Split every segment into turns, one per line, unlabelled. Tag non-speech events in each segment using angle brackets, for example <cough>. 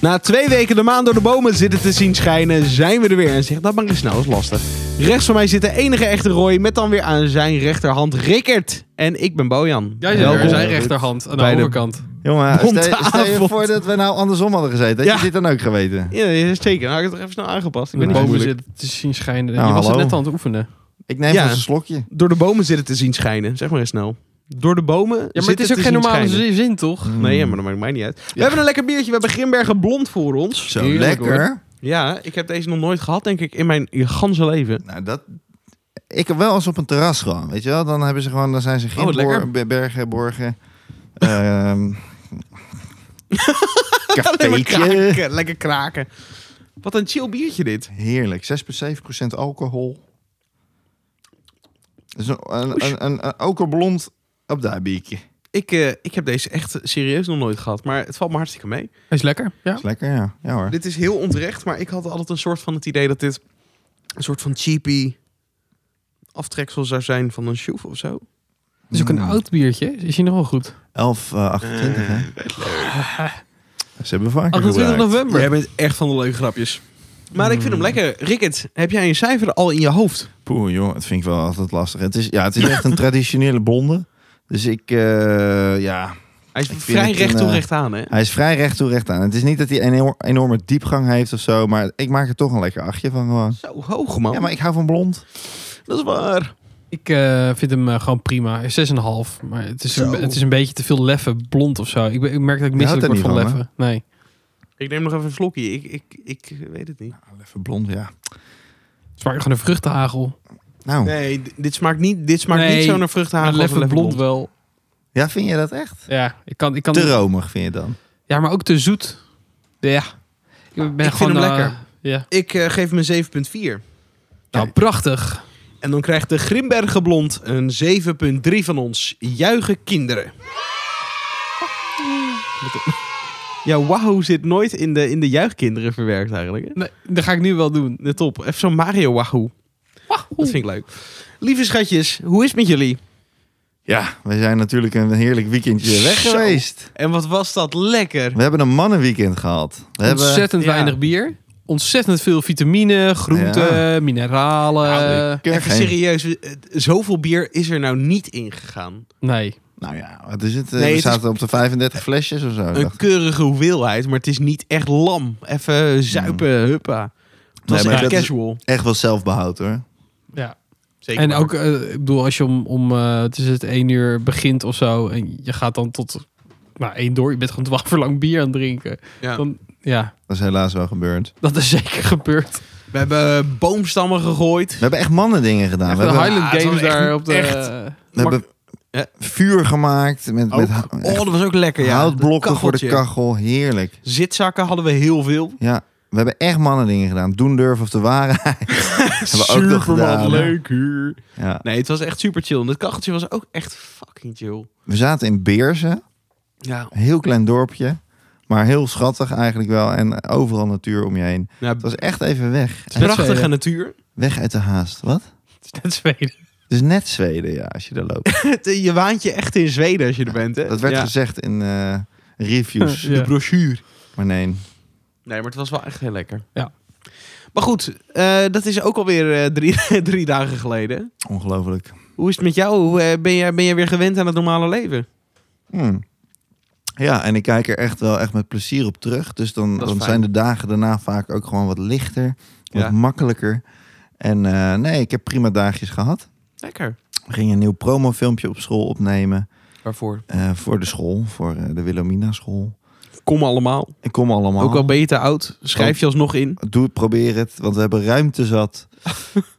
Na twee weken de maan door de bomen zitten te zien schijnen, zijn we er weer. En zeg dat maar eens snel, is lastig. Rechts van mij zit de enige echte Roy, met dan weer aan zijn rechterhand Rickert. En ik ben Bojan.
Jij zit er
Welkom.
aan zijn rechterhand aan de
Bij de-
overkant.
Jongen,
Bonte
stel, stel je
avond.
voor dat we nou andersom hadden gezeten. Had
Ja.
je dit dan ook geweten?
Ja, ja, zeker. Nou, had ik het er even snel aangepast. Ik ben
Ja.
niet zo
Boven
moeilijk.
zitten te zien schijnen.
Nou,
je was het
hallo.
net aan het oefenen.
Ik neem
Ja.
vast een slokje.
Door de bomen zitten te zien schijnen, zeg maar eens snel. Door de bomen
Ja, maar het
zitten
is ook
te
geen
zien
normale
schijnen.
zi- zin, toch?
Nee, ja, maar dat maakt mij niet uit. We hebben een lekker biertje. We hebben Grimbergen Blond voor ons.
Zo
Heerlijk,
lekker.
Ja, ik heb deze nog nooit gehad, denk ik, in mijn ganse leven.
Nou, dat... Ik heb wel eens op een terras gewoon, weet je wel? Dan hebben ze gewoon, dan zijn ze
Oh, wat lekker.
geen
<laughs>
bergen, borgen. Ehm
Lekker
cafeetje.
kraken, lekker kraken. Wat een chill biertje dit.
Heerlijk. 6,7% alcohol. Dus een, een, een, een, een okerblond op dat biertje.
Ik, eh, ik heb deze echt serieus nog nooit gehad, maar het valt me hartstikke mee.
Is lekker. Ja.
Is lekker, ja. Ja hoor.
Dit is heel onterecht, maar ik had altijd een soort van het idee dat dit een soort van cheapy aftreksel zou zijn van een shoef of zo.
Het is ook een
Mm.
oud biertje. Is hij nog wel goed?
11, eh, 28, hè? <laughs> Ze hebben vaker
28
gebruikt.
november.
bent echt van de leuke grapjes. Maar ik
Hmm.
vind hem lekker. Rickert, heb jij een cijfer al in je hoofd?
Poeh, joh, dat vind ik wel altijd lastig. Het is, ja, het is echt een traditionele blonde. Dus ik, eh, ja,
Hij is
Ik vind
vrij
het
recht
een,
toe
eh,
recht aan, hè?
hij is vrij recht toe recht aan. Het is niet dat hij een enorm- enorme diepgang heeft of zo, maar ik maak er toch een lekker achtje van gewoon.
Zo hoog, man.
Ja, maar ik hou van blond.
Dat is waar.
Ik eh, vind hem eh, gewoon prima. 6,5. Maar het is, een,
Zo.
het is een beetje te veel leffen. Blond of zo. Ik, ben- ik merk dat ik misselijk word
houdt er
van
niet van,
leffen.
Ik
Nee.
neem nog even een slokje. Ik, ik, ik eh, weet het niet.
Ah, Even blond, ja.
Het smaakt gewoon een vruchtenhagel.
Nou,
Nee, d- dit smaakt niet, dit smaakt niet
Nee,
zo naar vruchtenhagel.
Maar
als
leffen
een
blond wel.
ja, vind je dat echt?
Ja, ik kan, ik kan
Te romig vind je dan?
Ja, maar ook te zoet. Ja. Ik ben
vind
gewoon,
hem
eh,
lekker.
Ja.
Ik eh, geef hem een 7,4.
Nou, prachtig.
En dan krijgt de Grimbergen Blond een 7,3 van ons. Juichen kinderen. Ja, wauw zit nooit in de, in de juichkinderen verwerkt eigenlijk. Hè?
Nee, dat ga ik nu wel doen.
De top. Even zo'n Mario wahoo.
Ah,
Dat vind ik leuk. Lieve schatjes, hoe is het met jullie?
Ja, we zijn natuurlijk een heerlijk weekendje weg
Zo.
geweest.
En wat was dat lekker?
We hebben een mannenweekend gehad. We hebben
Ontzettend
ja.
weinig bier. Ontzettend veel vitamine, groenten, mineralen.
Nou,
Ik heb
Even
geen-
serieus, eh, zoveel bier is er nou niet ingegaan.
nee.
Nou ja, wat is het? Eh,
Nee, het
we
is-
zaten op de 35 flesjes of zo.
Een
dacht ik.
keurige hoeveelheid, maar het is niet echt lam. Even zuipen, huppa. Het was
Nee, maar
echt
dat is-
casual.
Echt wel zelfbehoud hoor.
Ja.
Zeker
En
waar.
ook, eh, ik bedoel, als je om, om eh, het is het één uur begint of zo. En je gaat dan tot nou, één door. Je bent gewoon twaalf uur lang bier aan het drinken.
Ja.
Dan, ja,
Dat is helaas wel gebeurd.
dat is <laughs> zeker gebeurd.
We hebben eh, boomstammen gegooid.
We hebben echt mannen dingen gedaan.
Echt
Nou, we
de
hebben,
Highland
Ja, het
Games
was echt-
daar op de...
echt.
we hebben
Ja.
vuur gemaakt met, met ha-
Oh, dat was ook lekker, ja.
houtblokken voor de
Kacheltje.
kachel. Heerlijk.
Zitzakken hadden we heel veel.
Ja, we hebben echt mannen dingen gedaan. Doen durf of de waarheid. <laughs> hebben we ook
Superman,
nog gedaan, hè?
leuk huur.
Ja.
Nee, het was echt super chill. En het kacheltje was ook echt fucking chill.
We zaten in Beersen,
Ja,
een heel klein dorpje. Maar heel schattig eigenlijk wel. En overal natuur om je heen.
nou,
Het was echt even weg.
net
prachtige
Zweden.
natuur.
Weg uit de haast. Wat?
Het is net Zweden.
Het is net Zweden, ja, als je daar loopt.
Het, eh, Je waant je echt in Zweden als je er bent, hè?
Dat werd
Ja.
gezegd in eh,
<laughs>
reviews.
Ja.
De brochure.
Maar nee.
Nee, maar het was wel echt heel lekker.
Ja.
Maar goed, eh, dat is ook alweer eh, drie, <laughs> drie dagen geleden.
Ongelooflijk.
Hoe is het met jou? Hoe, eh, ben, jij, ben jij weer gewend aan het normale leven?
Hmm. Ja, en ik kijk er echt wel echt met plezier op terug. Dus dan,
Dat is
dan
fijn.
zijn de dagen daarna vaak ook gewoon wat lichter, wat
Ja.
makkelijker. En eh, nee, ik heb prima dagjes gehad.
Lekker.
We gingen een nieuw promofilmpje op school opnemen
Waarvoor?
eh, voor de school, voor eh, de Wilhelmina school.
Kom allemaal.
Ik kom allemaal.
Ook al ben je te oud, schrijf je alsnog in.
Doe het, probeer het, want we hebben ruimte
<laughs>
zat.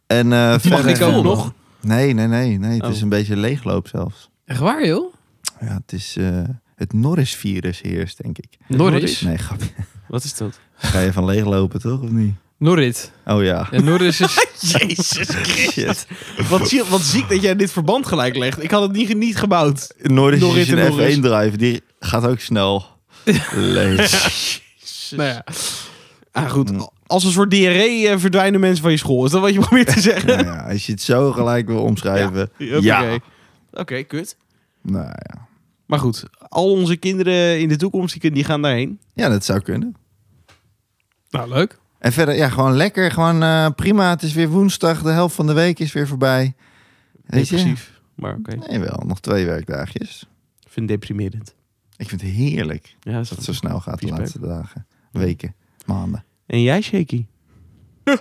en, eh,
Mag
verder-
ik ook nog?
Nee, nee, nee. nee. Het
Oh.
is een beetje leegloop zelfs.
Echt waar, joh?
Ja, het is eh, het Norris-virus heerst, denk ik.
Norris.
Nee, grapje.
Wat is dat?
Ga je van leeglopen, toch? Of niet?
Norrit.
<laughs>
Oh ja.
Ja, Norris is...
Jezus
Shit.
Wat, zie- wat ziek dat jij dit verband gelijk legt. Ik had het niet, niet gebouwd.
Norris
Norris
is
en
een
Norris.
F1-drive. Die gaat ook
<laughs>
snel. Lees.
nou ja.
Ah, goed. Als een soort diarree eh, verdwijnen mensen van je school. Is dat wat je <laughs> probeert te zeggen?
nou ja, als je het zo gelijk wil omschrijven. Ja.
Hoppakee. Oké, kut.
Nou ja.
Maar goed, al onze kinderen in de toekomst die kunnen- die gaan daarheen.
Ja, dat zou kunnen.
Nou, leuk.
En verder, ja, gewoon lekker. Gewoon eh, prima. Het is weer woensdag. De helft van de week is weer voorbij. Weet je?
Depressief. Maar oké,
Nee, wel. Nog twee werkdagjes.
ik vind het deprimerend.
Ik vind het heerlijk
Ja, is
dat
dat
het zo snel gaat de
Vies
laatste dagen, weken, maanden.
En jij, Shaky? <laughs>
Ik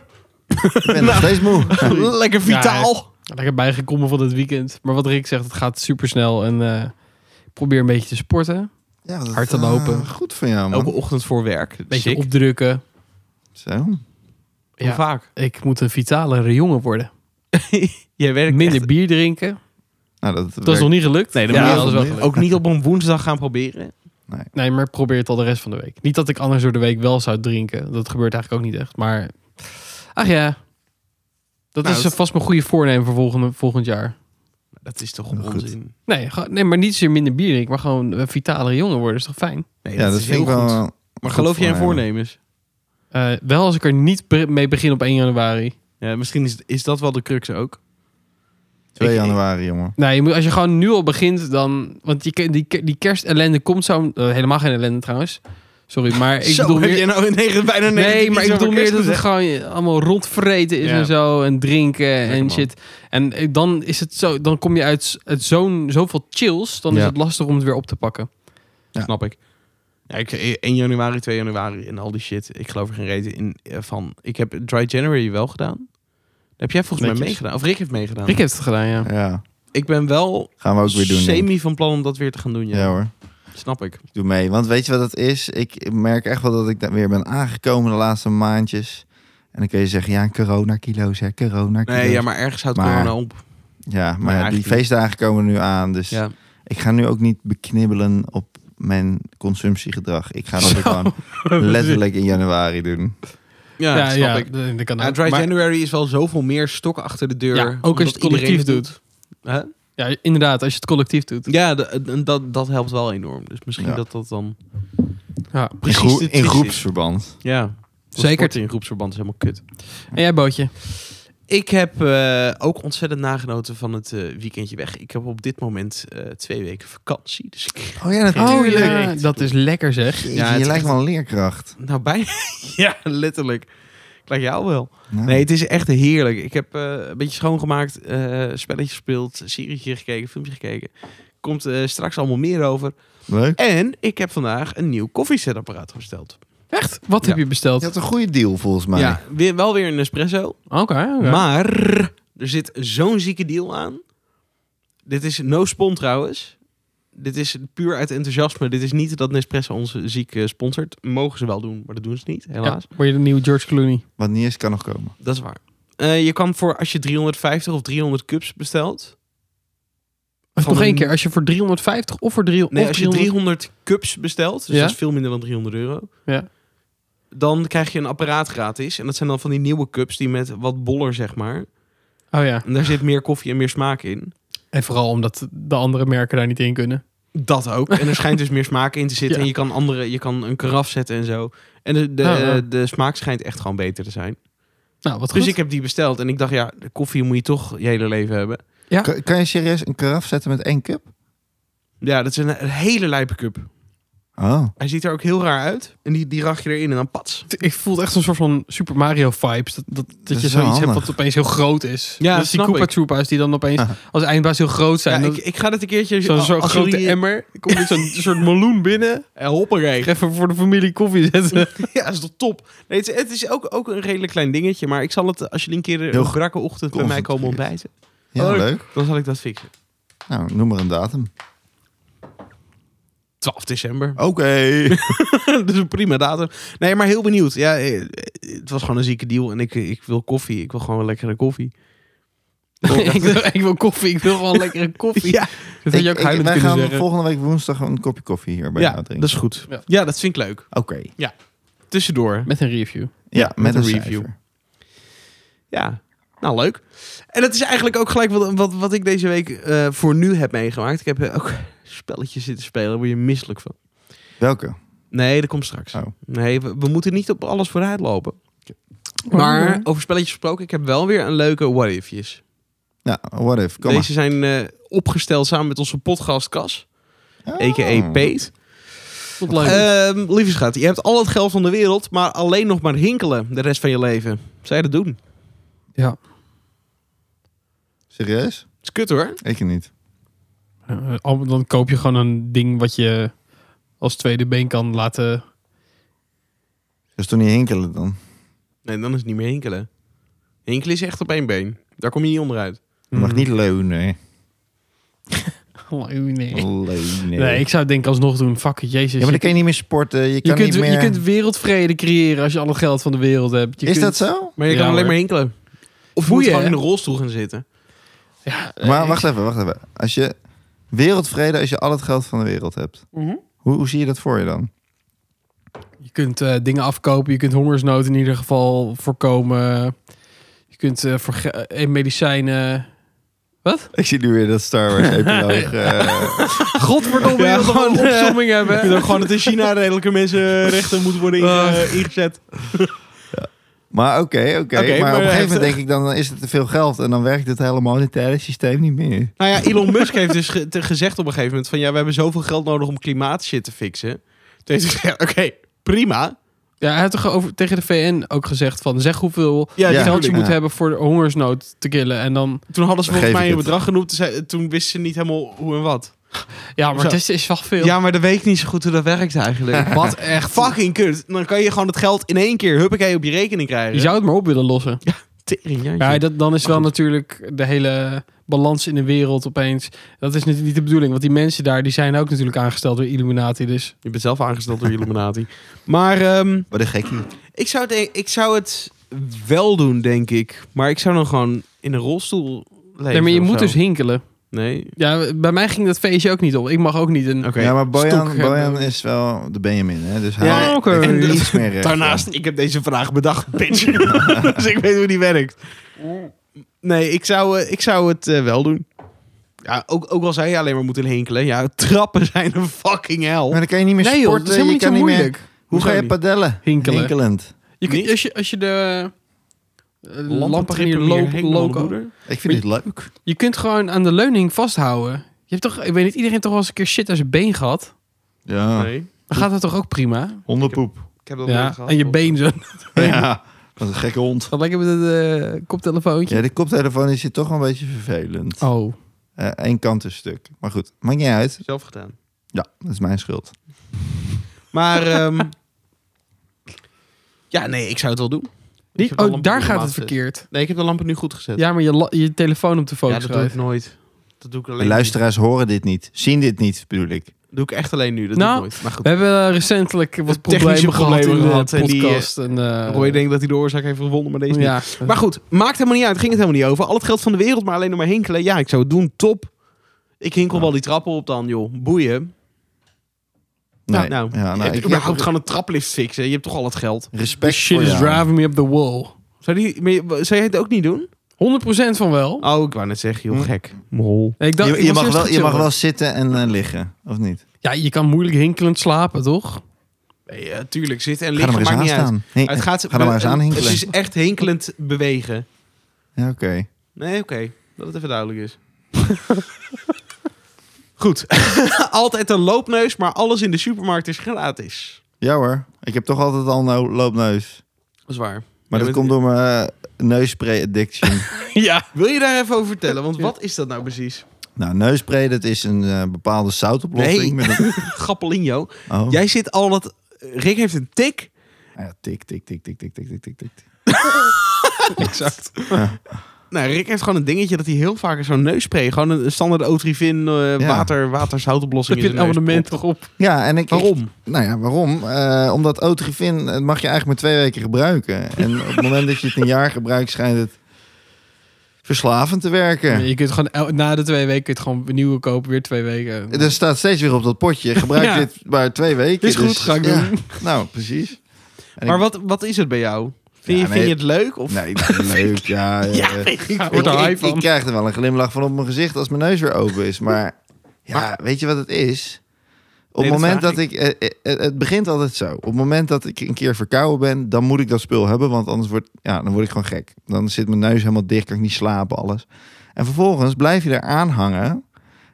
ben
Nou.
nog steeds moe.
Lekker
vitaal. Lekker bijgekomen van het weekend. Maar wat Rick zegt, het gaat super snel. En eh, ik probeer een beetje te sporten.
Ja, dat,
Hard te
eh,
lopen.
goed van jou,
Elke
man.
ochtend voor werk.
Een beetje
Sick.
opdrukken.
Zo. Nou,
Hoe
Ja.
vaak?
Ik moet een vitalere jongen worden.
Jij werkt
Minder
echt-
bier drinken.
Nou, dat,
Dat is nog niet gelukt.
Nee, dat
ja,
moet je
dat is wel
niet.
gelukt.
Ook niet op een woensdag gaan proberen.
Nee, maar ik probeer het al de rest van de week. Niet dat ik anders door de week wel zou drinken. Dat gebeurt eigenlijk ook niet echt. Maar ach ja, dat
Nou,
is
dat-
vast mijn goede voornemen voor volgende, volgend jaar.
Dat is toch
Nou, goed.
onzin?
Nee, gewoon- nee, maar niet zozeer minder bier drinken, maar gewoon eh, vitalere jongen worden. Is toch fijn?
Nee,
ja, dat,
is
vind ik
heel goed.
wel...
Maar geloof jij in voornemens?
Eh, wel als ik er niet be- mee begin op 1 januari.
Ja, misschien is, is dat wel de crux ook.
2
Ik-
januari, jongen.
Nee, je moet, als je gewoon nu al begint, dan... Want je, ken- die, ke- die kerstellende komt zo... eh, helemaal geen ellende trouwens. Sorry, maar ik
Zo,
bedoel
heb
meer...
jij nou in negen, bijna
Nee,
negatief
maar ik
iets
bedoel
over
meer dat
kerst
het gewoon allemaal rondvreten is
Ja.
en zo. En drinken en
man.
shit. En eh, dan is het zo, dan kom je uit, uit zo'n zoveel chills. Dan is
Ja.
het lastig om het weer op te pakken.
gezegd? Snap ik. Ja, ik. 1 januari, 2 januari en al die shit. Ik geloof er geen reden in eh, van. Ik heb Dry January wel gedaan. Heb jij volgens mij
Netjes.
meegedaan? Of Rick heeft meegedaan.
Ik heb het gedaan, ja.
Ja,
Ik ben wel
gaan we ook weer doen. denk ik.
semi van plan om dat weer te gaan doen. Ja,
Ja hoor.
snap ik.
Doe mee. Want weet je wat het is? Ik merk echt wel dat ik daar weer ben aangekomen de laatste maandjes. En dan kun je zeggen, ja, corona-kilo's, hè, corona-kilo's.
Nee, ja, maar ergens houdt
Maar-
corona op.
Ja, maar
Maar
ja, die
eigenlijk
feestdagen komen nu aan. Dus
Ja.
ik ga nu ook niet beknibbelen op mijn consumptiegedrag. Ik ga
<laughs>
dat weer gewoon
<laughs>
letterlijk in januari doen.
Ja,
Ja,
snap
ja,
ik.
dat- dat kan
Ja,
ook.
Dry
Maar-
January is wel zoveel meer stok achter de deur.
ja, ook
omdat
als je het
iedereen
collectief
doet.
doet.
Hè?
Ja, inderdaad, als je het collectief doet.
Ja, eh, d- en dat, dat helpt wel enorm. Dus misschien
Ja.
dat dat dan...
Ja.
In,
Precies
groe-
de
in
twist
groepsverband.
is. Ja.
Zeker.
Sporten in groepsverband is helemaal kut.
En jij,
Oh,
Bootje?
Ik heb eh, ook ontzettend nagenoten van het eh, weekendje weg. Ik heb op dit moment eh, twee weken vakantie. Dus ik... <laughs>
Oh ja, natuurlijk.
Oh,
ja, dat is lekker zeg.
Jeetje,
Ja, het
je
is
lijkt
echt-
wel een leerkracht.
Nou, bijna... <laughs> ja, letterlijk. Ik lijk jou wel.
Nou,
Nee, het is echt heerlijk. Ik heb eh, een beetje schoongemaakt, eh spelletjes gespeeld, serietje gekeken, filmpje gekeken. Komt eh, straks allemaal meer over.
Leuk.
En ik heb vandaag een nieuw koffiezetapparaat besteld.
Echt? Wat
Ja.
heb je besteld?
Je had een goede deal volgens mij.
Ja, weer, wel weer een espresso.
Oké, oké.
Maar er zit zo'n zieke deal aan. Dit is no spon trouwens. Dit is puur uit enthousiasme. Dit is niet dat Nespresso ons ziek eh, sponsort. Mogen ze wel doen, maar dat doen ze niet,
Ja,
helaas.
word je de nieuwe George Clooney?
Wat niet is, kan nog komen.
Dat is waar. Eh, je kan voor als je 350 of 300 cups bestelt.
Of
Van
nog één
een-
keer, als je voor 350 of voor 300...
Nee,
of
als je 300 cups bestelt, dus
Ja.
dat is veel minder dan 300 euro.
Ja.
Dan krijg je een apparaat gratis. En dat zijn dan van die nieuwe cups die met wat boller, zeg maar.
Oh ja.
En daar zit meer koffie en meer smaak in.
En vooral omdat de andere merken daar niet in kunnen.
Dat ook. En er schijnt dus
<laughs>
meer smaak in te zitten.
Ja. Oh,
En je kan, andere, je kan een karaf zetten en zo. En de, de,
Ja, ja.
de smaak schijnt echt gewoon beter te zijn.
Nou, wat
Dus
goed.
ik heb die besteld. En ik dacht, ja, de koffie moet je toch je hele leven hebben.
Ja.
Kan, kan je serieus een karaf zetten met één cup?
Ja, dat is een, een hele lijpe cup.
Oh.
Hij ziet er ook heel raar uit. En die, die rach je erin en dan pats.
ik voelde echt zo'n soort van Super Mario vibes. Dat, dat, dat,
is
je
wel
zoiets hebt
handig.
wat opeens heel groot is.
Ja,
dus die
snap
Koopa
ik.
Troopas die dan opeens
Ah.
als eindbaas heel groot
Ja,
zijn.
ik, ik ga dit een keertje...
Dat- Zo'n zo'n
als
grote
jullie-
emmer. Er komt zo'n
<laughs>
soort meloen binnen.
Eh, hoppakee.
Ik ga even voor de familie koffie zetten.
<laughs> Ja, is toch top. Nee, het, is- het is ook, ook een redelijk klein dingetje. Maar ik zal het, als jullie een keer
Heel
een brakke ochtend bij mij komen ontbijten.
Ja,
Leuk.
leuk.
Dan zal ik dat fixen.
Nou, noem maar een datum.
12 december.
Oké.
<laughs> dat is een prima datum. Nee, maar heel benieuwd. Ja, eh, eh, het was gewoon een zieke deal. En ik, eh, ik wil koffie. Ik wil gewoon lekkere koffie.
<laughs> ik, wil, ik wil koffie. Ik wil gewoon lekkere koffie.
<laughs> Ja,
Dat had
Ik-
je ook
ik-
huilend
wij
kunnen
gaan
zeggen.
volgende week woensdag een kopje koffie hier bij
ja
jou
dat
drinken.
is goed.
Ja.
Ja, dat vind ik leuk.
Oké.
Tussendoor.
Met een review.
Ja, met,
met
een,
een
review.
review. Ja, nou leuk. En dat is eigenlijk ook gelijk wat, wat, wat ik deze week eh, voor nu heb meegemaakt. Ik heb eh, ook spelletjes zitten spelen. Daar word je misselijk van.
Welke?
Nee, dat komt straks.
Oh.
Nee, we, we moeten niet op alles vooruit lopen. Maar over spelletjes gesproken, ik heb wel weer een leuke what ifjes.
Nou, what if? Kom
Deze
Ah.
zijn eh, opgesteld samen met onze podcastkas,
maar.
a.k.a.
Oh.
Peet.
Wat leuk.
Ehm, lieve schat, je hebt al het geld van de wereld, maar alleen nog maar hinkelen de rest van je leven. Zou je dat doen?
ja.
Serieus?
is kut hoor.
Ik niet.
Eh, al- dan koop je gewoon een ding wat je als tweede been kan laten.
Dus toen niet hinkelen dan.
Nee, dan is het niet meer hinkelen. Hinkelen is echt op één been. Daar kom je niet onderuit.
Je mag
Mm.
niet leunen.
Nee.
Leunen.
nee, ik zou het denk ik alsnog doen. Fuck it, jezus.
Ja, maar dan kan je niet meer sporten. Je,
je,
kan
kunt,
niet meer...
je kunt wereldvrede creëren als je al het geld van de wereld hebt. Je
Is
kunt-
dat zo?
Maar je
Ja,
kan alleen
hoor.
maar hinkelen. Of je moet
Boeien,
gewoon in
hè?
de rolstoel gaan zitten.
Ja, eh,
Maar
ik-
wacht even, wacht even. Als je wereldvrede, als je al het geld van de wereld hebt.
Mhm.
Hoe, hoe zie je dat voor je dan?
Je kunt eh, dingen afkopen. Je kunt hongersnood in ieder geval voorkomen. Je kunt eh, voor ge- eh, medicijnen.
<laughs> Ik zie nu weer dat Star <laughs> Wars epiloog. eh,
<laughs> Godverdomme,
Ja,
je wil
gewoon,
gewoon een
eh,
opzomming
Ik vind
hebben.
ook gewoon dat in China redelijke mensenrechten moeten worden inge- ingezet.
maar oké,
Oké,
oké. maar, eh,
maar
op een
het-
gegeven moment denk ik dan, dan is het te veel geld. En dan werkt het hele monetaire systeem niet meer.
Nou ja, Elon Musk heeft dus ge- te- gezegd op een gegeven moment van... ja, we hebben zoveel geld nodig om klimaatshit te fixen. Toen heeft hij gezegd, oké, prima.
<laughs> Ja, hij had toch over, tegen de VN ook gezegd van zeg hoeveel
Ja,
Ja.
die
geld
geld
je
tuurlijk.
moet
Ja.
hebben voor de hongersnood te killen. En dan,
Toen hadden ze
Geef
volgens mij
ik
een
het.
bedrag genoemd. Toen zei- Toen wisten ze niet helemaal hoe en wat.
ja, maar
Zo.
het is, is wel veel.
Ja, maar dan weet ik niet zo goed hoe dat werkt eigenlijk.
<laughs> Wat echt.
Fucking kut. Dan kan je gewoon het geld in één keer huppakee op je rekening krijgen.
Je zou het maar op willen lossen.
Tering, jantje.
Ja, dat, dan is wel
goed.
natuurlijk de hele balans in de wereld opeens. Dat is niet, niet de bedoeling. Want die mensen daar, die zijn ook natuurlijk aangesteld door Illuminati. Dus
Je bent zelf aangesteld door Illuminati. Maar ehm,
Wat een gekkie.
ik, zou het, ik zou het wel doen, denk ik. Maar ik zou dan gewoon in een rolstoel leven.
nee, maar je
of
moet
zo.
dus hinkelen.
Nee?
Ja, bij mij ging dat feestje ook niet op. Ik mag ook niet een...
Oké.
ja, maar Bojan,
stok, eh,
Bojan is wel de Benjamin, hè? Dus hij
Ja,
heeft
oké.
er
En
iets meer
<laughs>
recht.
Daarnaast, ik heb deze vraag bedacht, bitch. <laughs> dus ik weet hoe die werkt. Nee, ik zou, eh, ik zou het eh, wel doen. Ja, ook, ook al zou je alleen maar moeten hinkelen. Ja, trappen <laughs> zijn een fucking
Maar
hel.
dan kan je niet meer
Nee joh,
sporten.
dat is helemaal
je
niet
kan
zo
meer-
moeilijk.
Hoe
Hoezo
ga je
niet?
padellen?
Hinkelen.
Hinkelend.
Je kunt,
Niet?
als, je, als je de eh,
Lampentrippen
lampen
hier
lopen,
heen, mannen,
loco.
broeder.
Ik vind dit leuk.
Je kunt gewoon aan de leuning vasthouden. Je hebt toch, ik weet niet, iedereen heeft toch wel eens een keer shit aan zijn been gehad?
Ja,
Nee,
Dan gaat dat toch ook prima?
hondenpoep.
ik heb dat
Ja,
nooit gehad.
aan je been zo. <laughs>
Ja, dat is een gekke hond.
Dan lekker met het eh, koptelefoontje.
Ja, de koptelefoon is hier toch wel een beetje vervelend.
Oh,
Eén Eh, kant is stuk. Maar goed, maakt niet uit.
Zelf gedaan.
Ja, dat is mijn schuld.
<laughs>
Maar ehm, ja, nee, ik zou het wel doen. Ik
niet,
heb de
oh
lampen
daar
nu
gaat
normaal
het
gezet.
verkeerd.
Nee, ik heb de lampen nu goed gezet.
Ja, maar je, la- je telefoon op de
Ja,
focus
dat doe ik
schrijven.
nooit. Dat doe ik alleen.
De luisteraars horen dit niet. Zien dit niet, bedoel ik.
nu. doe ik echt alleen nu. Dat
Nou,
doe ik nooit. Maar goed.
We hebben eh, recentelijk wat
Technische
problemen gehad in
problemen
de
gehad en die, eh,
podcast. En, eh,
Roy denkt dat hij de oorzaak heeft gevonden, maar deze niet.
ja.
Maar goed, maakt helemaal niet uit. Ging het helemaal niet over. Al het geld van de wereld, maar alleen nog maar hinkelen. Ja, ik zou het doen. Top. Ik hinkel wel die trappen op dan, joh. Boeien.
Nee.
nou,
ja, nou,
ik,
ik
überhaupt
heb
gewoon een traplift fixen. Je hebt toch al het geld.
The
respect
shit
voor
is
jou.
driving me up the wall.
Zou, die, maar je- zou jij het ook niet doen?
100% van wel.
Oh, ik wou net zeggen, joh.
Hm.
Gek. Mol.
Nee, ik dacht,
Je,
ik
je,
was
mag
eerst
wel, je
gechillen.
mag wel zitten en eh, liggen, of niet?
Ja, je kan moeilijk hinkelend slapen, toch?
Nee, eh, tuurlijk. Zitten en
Ga er
liggen
maar
maakt
eens aan
niet uit.
staan. Nee, eh,
Het gaat,
ga er maar eens aan hinkelen.
Het is echt hinkelend bewegen.
Ja, oké.
Nee, oké. Dat het even duidelijk
<laughs>
is. Goed. <laughs> Altijd een loopneus, maar alles in de supermarkt is gratis.
Ja hoor, ik heb toch altijd al een loopneus.
Dat is waar.
Maar
Ja,
dat
maar-
komt door mijn eh, neusspray addiction.
<laughs>
ja.
Wil je daar even over vertellen? Want wat is dat nou precies?
nou, neusspray, dat is een eh, bepaalde zoutoplossing.
Nee.
Met een...
Gappelinho.
<laughs> Oh. Ah
Jij zit al dat... eh, Rick heeft een tik.
Ja, tik, tik, tik, tik, tik, tik, tik, tik, tik.
Exact. Nou, Rick heeft gewoon een dingetje dat hij heel vaak zo'n neusspray... Gewoon een een standaard Otrivin eh
Ja.
water, waterzoutoplossing
Heb je
in
een
zijn neus
abonnement
propt.
toch op?
Ja, en ik... ik-
Waarom?
Nou ja, waarom? Eh, omdat Otrivin eh, mag je eigenlijk maar twee weken gebruiken. En op het moment dat je het een jaar gebruikt, schijnt het verslavend te werken.
Je kunt gewoon el- na de twee weken kun je het gewoon een nieuwe kopen, weer twee weken.
Er staat steeds weer op dat potje. Gebruik
Ja.
dit maar twee weken.
Is goed,
Dus,
ga ik
ja.
doen.
Nou, precies. En
Maar
ik-
wat, wat is het bij jou? Vind,
Ja,
je, vind
nee.
je het leuk? Of?
Nee, dat <laughs> is leuk. Ja, eh,
Ja,
ik-
weet ik
Wordt er
ik,
high
ik
van.
krijg er wel een glimlach van op mijn gezicht als mijn neus weer open is. Maar ja, weet je wat het is? Op
Nee,
het
dat
moment
vraag
dat ik... eh, eh, het begint altijd zo. Op het moment dat ik een keer verkouden ben, dan moet ik dat spul hebben. Want anders wordt, ja, dan word ik gewoon gek. Dan zit mijn neus helemaal dicht, kan ik niet slapen, alles. En vervolgens blijf je eraan hangen.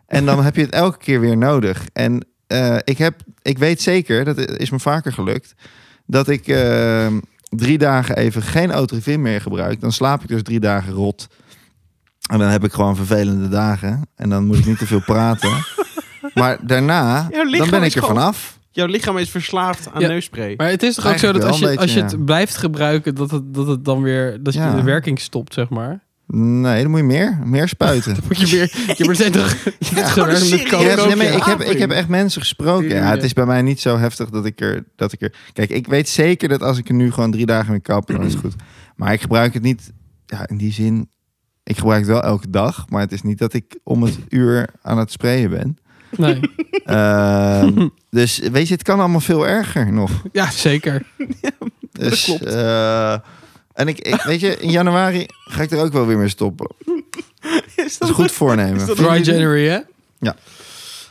En dan heb je het elke keer weer nodig. En eh, ik, heb, ik weet zeker, dat is me vaker gelukt, dat ik eh, drie dagen even geen Otrivin meer gebruik. Dan slaap ik dus drie dagen rot. En dan heb ik gewoon vervelende dagen. En dan moet ik niet te veel
<laughs>
praten. Maar daarna,
Jouw lichaam
dan ben
is
ik er
gewoon-
vanaf.
Jouw lichaam is verslaafd aan
Ja.
neusspray.
Maar het is toch ook zo dat
Eigenlijk
als je,
wel een
als je
beetje,
het blijft gebruiken, dat het, dat het dan weer dat je
Ja.
de werking stopt, zeg maar.
Nee, dan moet je meer, meer spuiten.
Moet je weer, je wordt <laughs> toch je
gewoon
bent gewerkt
een
met
serieus-
Ik heb,
coke.
ook,
nee, maar
ja.
ik, heb, ik heb echt mensen gesproken. Ja, het is bij mij niet zo heftig dat ik er... Dat ik er kijk, ik weet zeker dat als ik er nu gewoon drie dagen mee kap, dan is het goed. Maar ik gebruik het niet... Ja, in die zin... Ik gebruik het wel elke dag, maar het is niet dat ik om het uur aan het sprayen
<laughs>
ben.
Nee.
Ehm, dus weet je, het kan allemaal veel erger nog.
<laughs> Ja, zeker.
Dus,
klopt.
eh, en ik, ik, weet je, in januari ga ik er ook wel weer mee stoppen.
Is
Dat is goed voornemen.
Is dat-
Dry January, hè?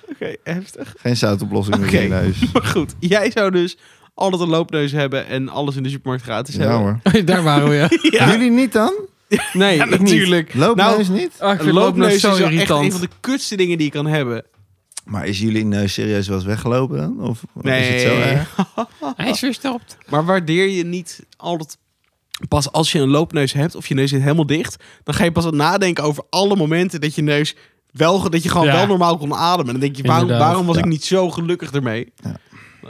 Oké, heftig.
Geen zoutoplossing meer
Oké.
in je
<laughs>
neus.
Maar goed, jij zou dus altijd een loopneus hebben en alles in de supermarkt gratis
Ja
hebben.
hoor.
Daar waren <laughs> we, ja.
Ja, Nou,
Jullie niet dan?
Nee,
ja,
ik niet.
natuurlijk.
Loopneus niet?
Ah, ik
Een loopneus
vind loopneus
is
zo
wel echt een
irritant.
van de kutste dingen die je kan hebben.
Maar is jullie neus serieus wel eens weggelopen dan? Of is het zo
Nee.
erg?
Hij is verstopt.
Maar waardeer je niet altijd... Pas als je een loopneus hebt of je neus zit helemaal dicht... dan ga je pas aan nadenken over alle momenten dat je neus... Wel, dat je gewoon
Ja.
wel normaal kon ademen. Dan denk je, waarom,
Inderdaad,
waarom was
ja.
ik niet zo gelukkig ermee?
Ja.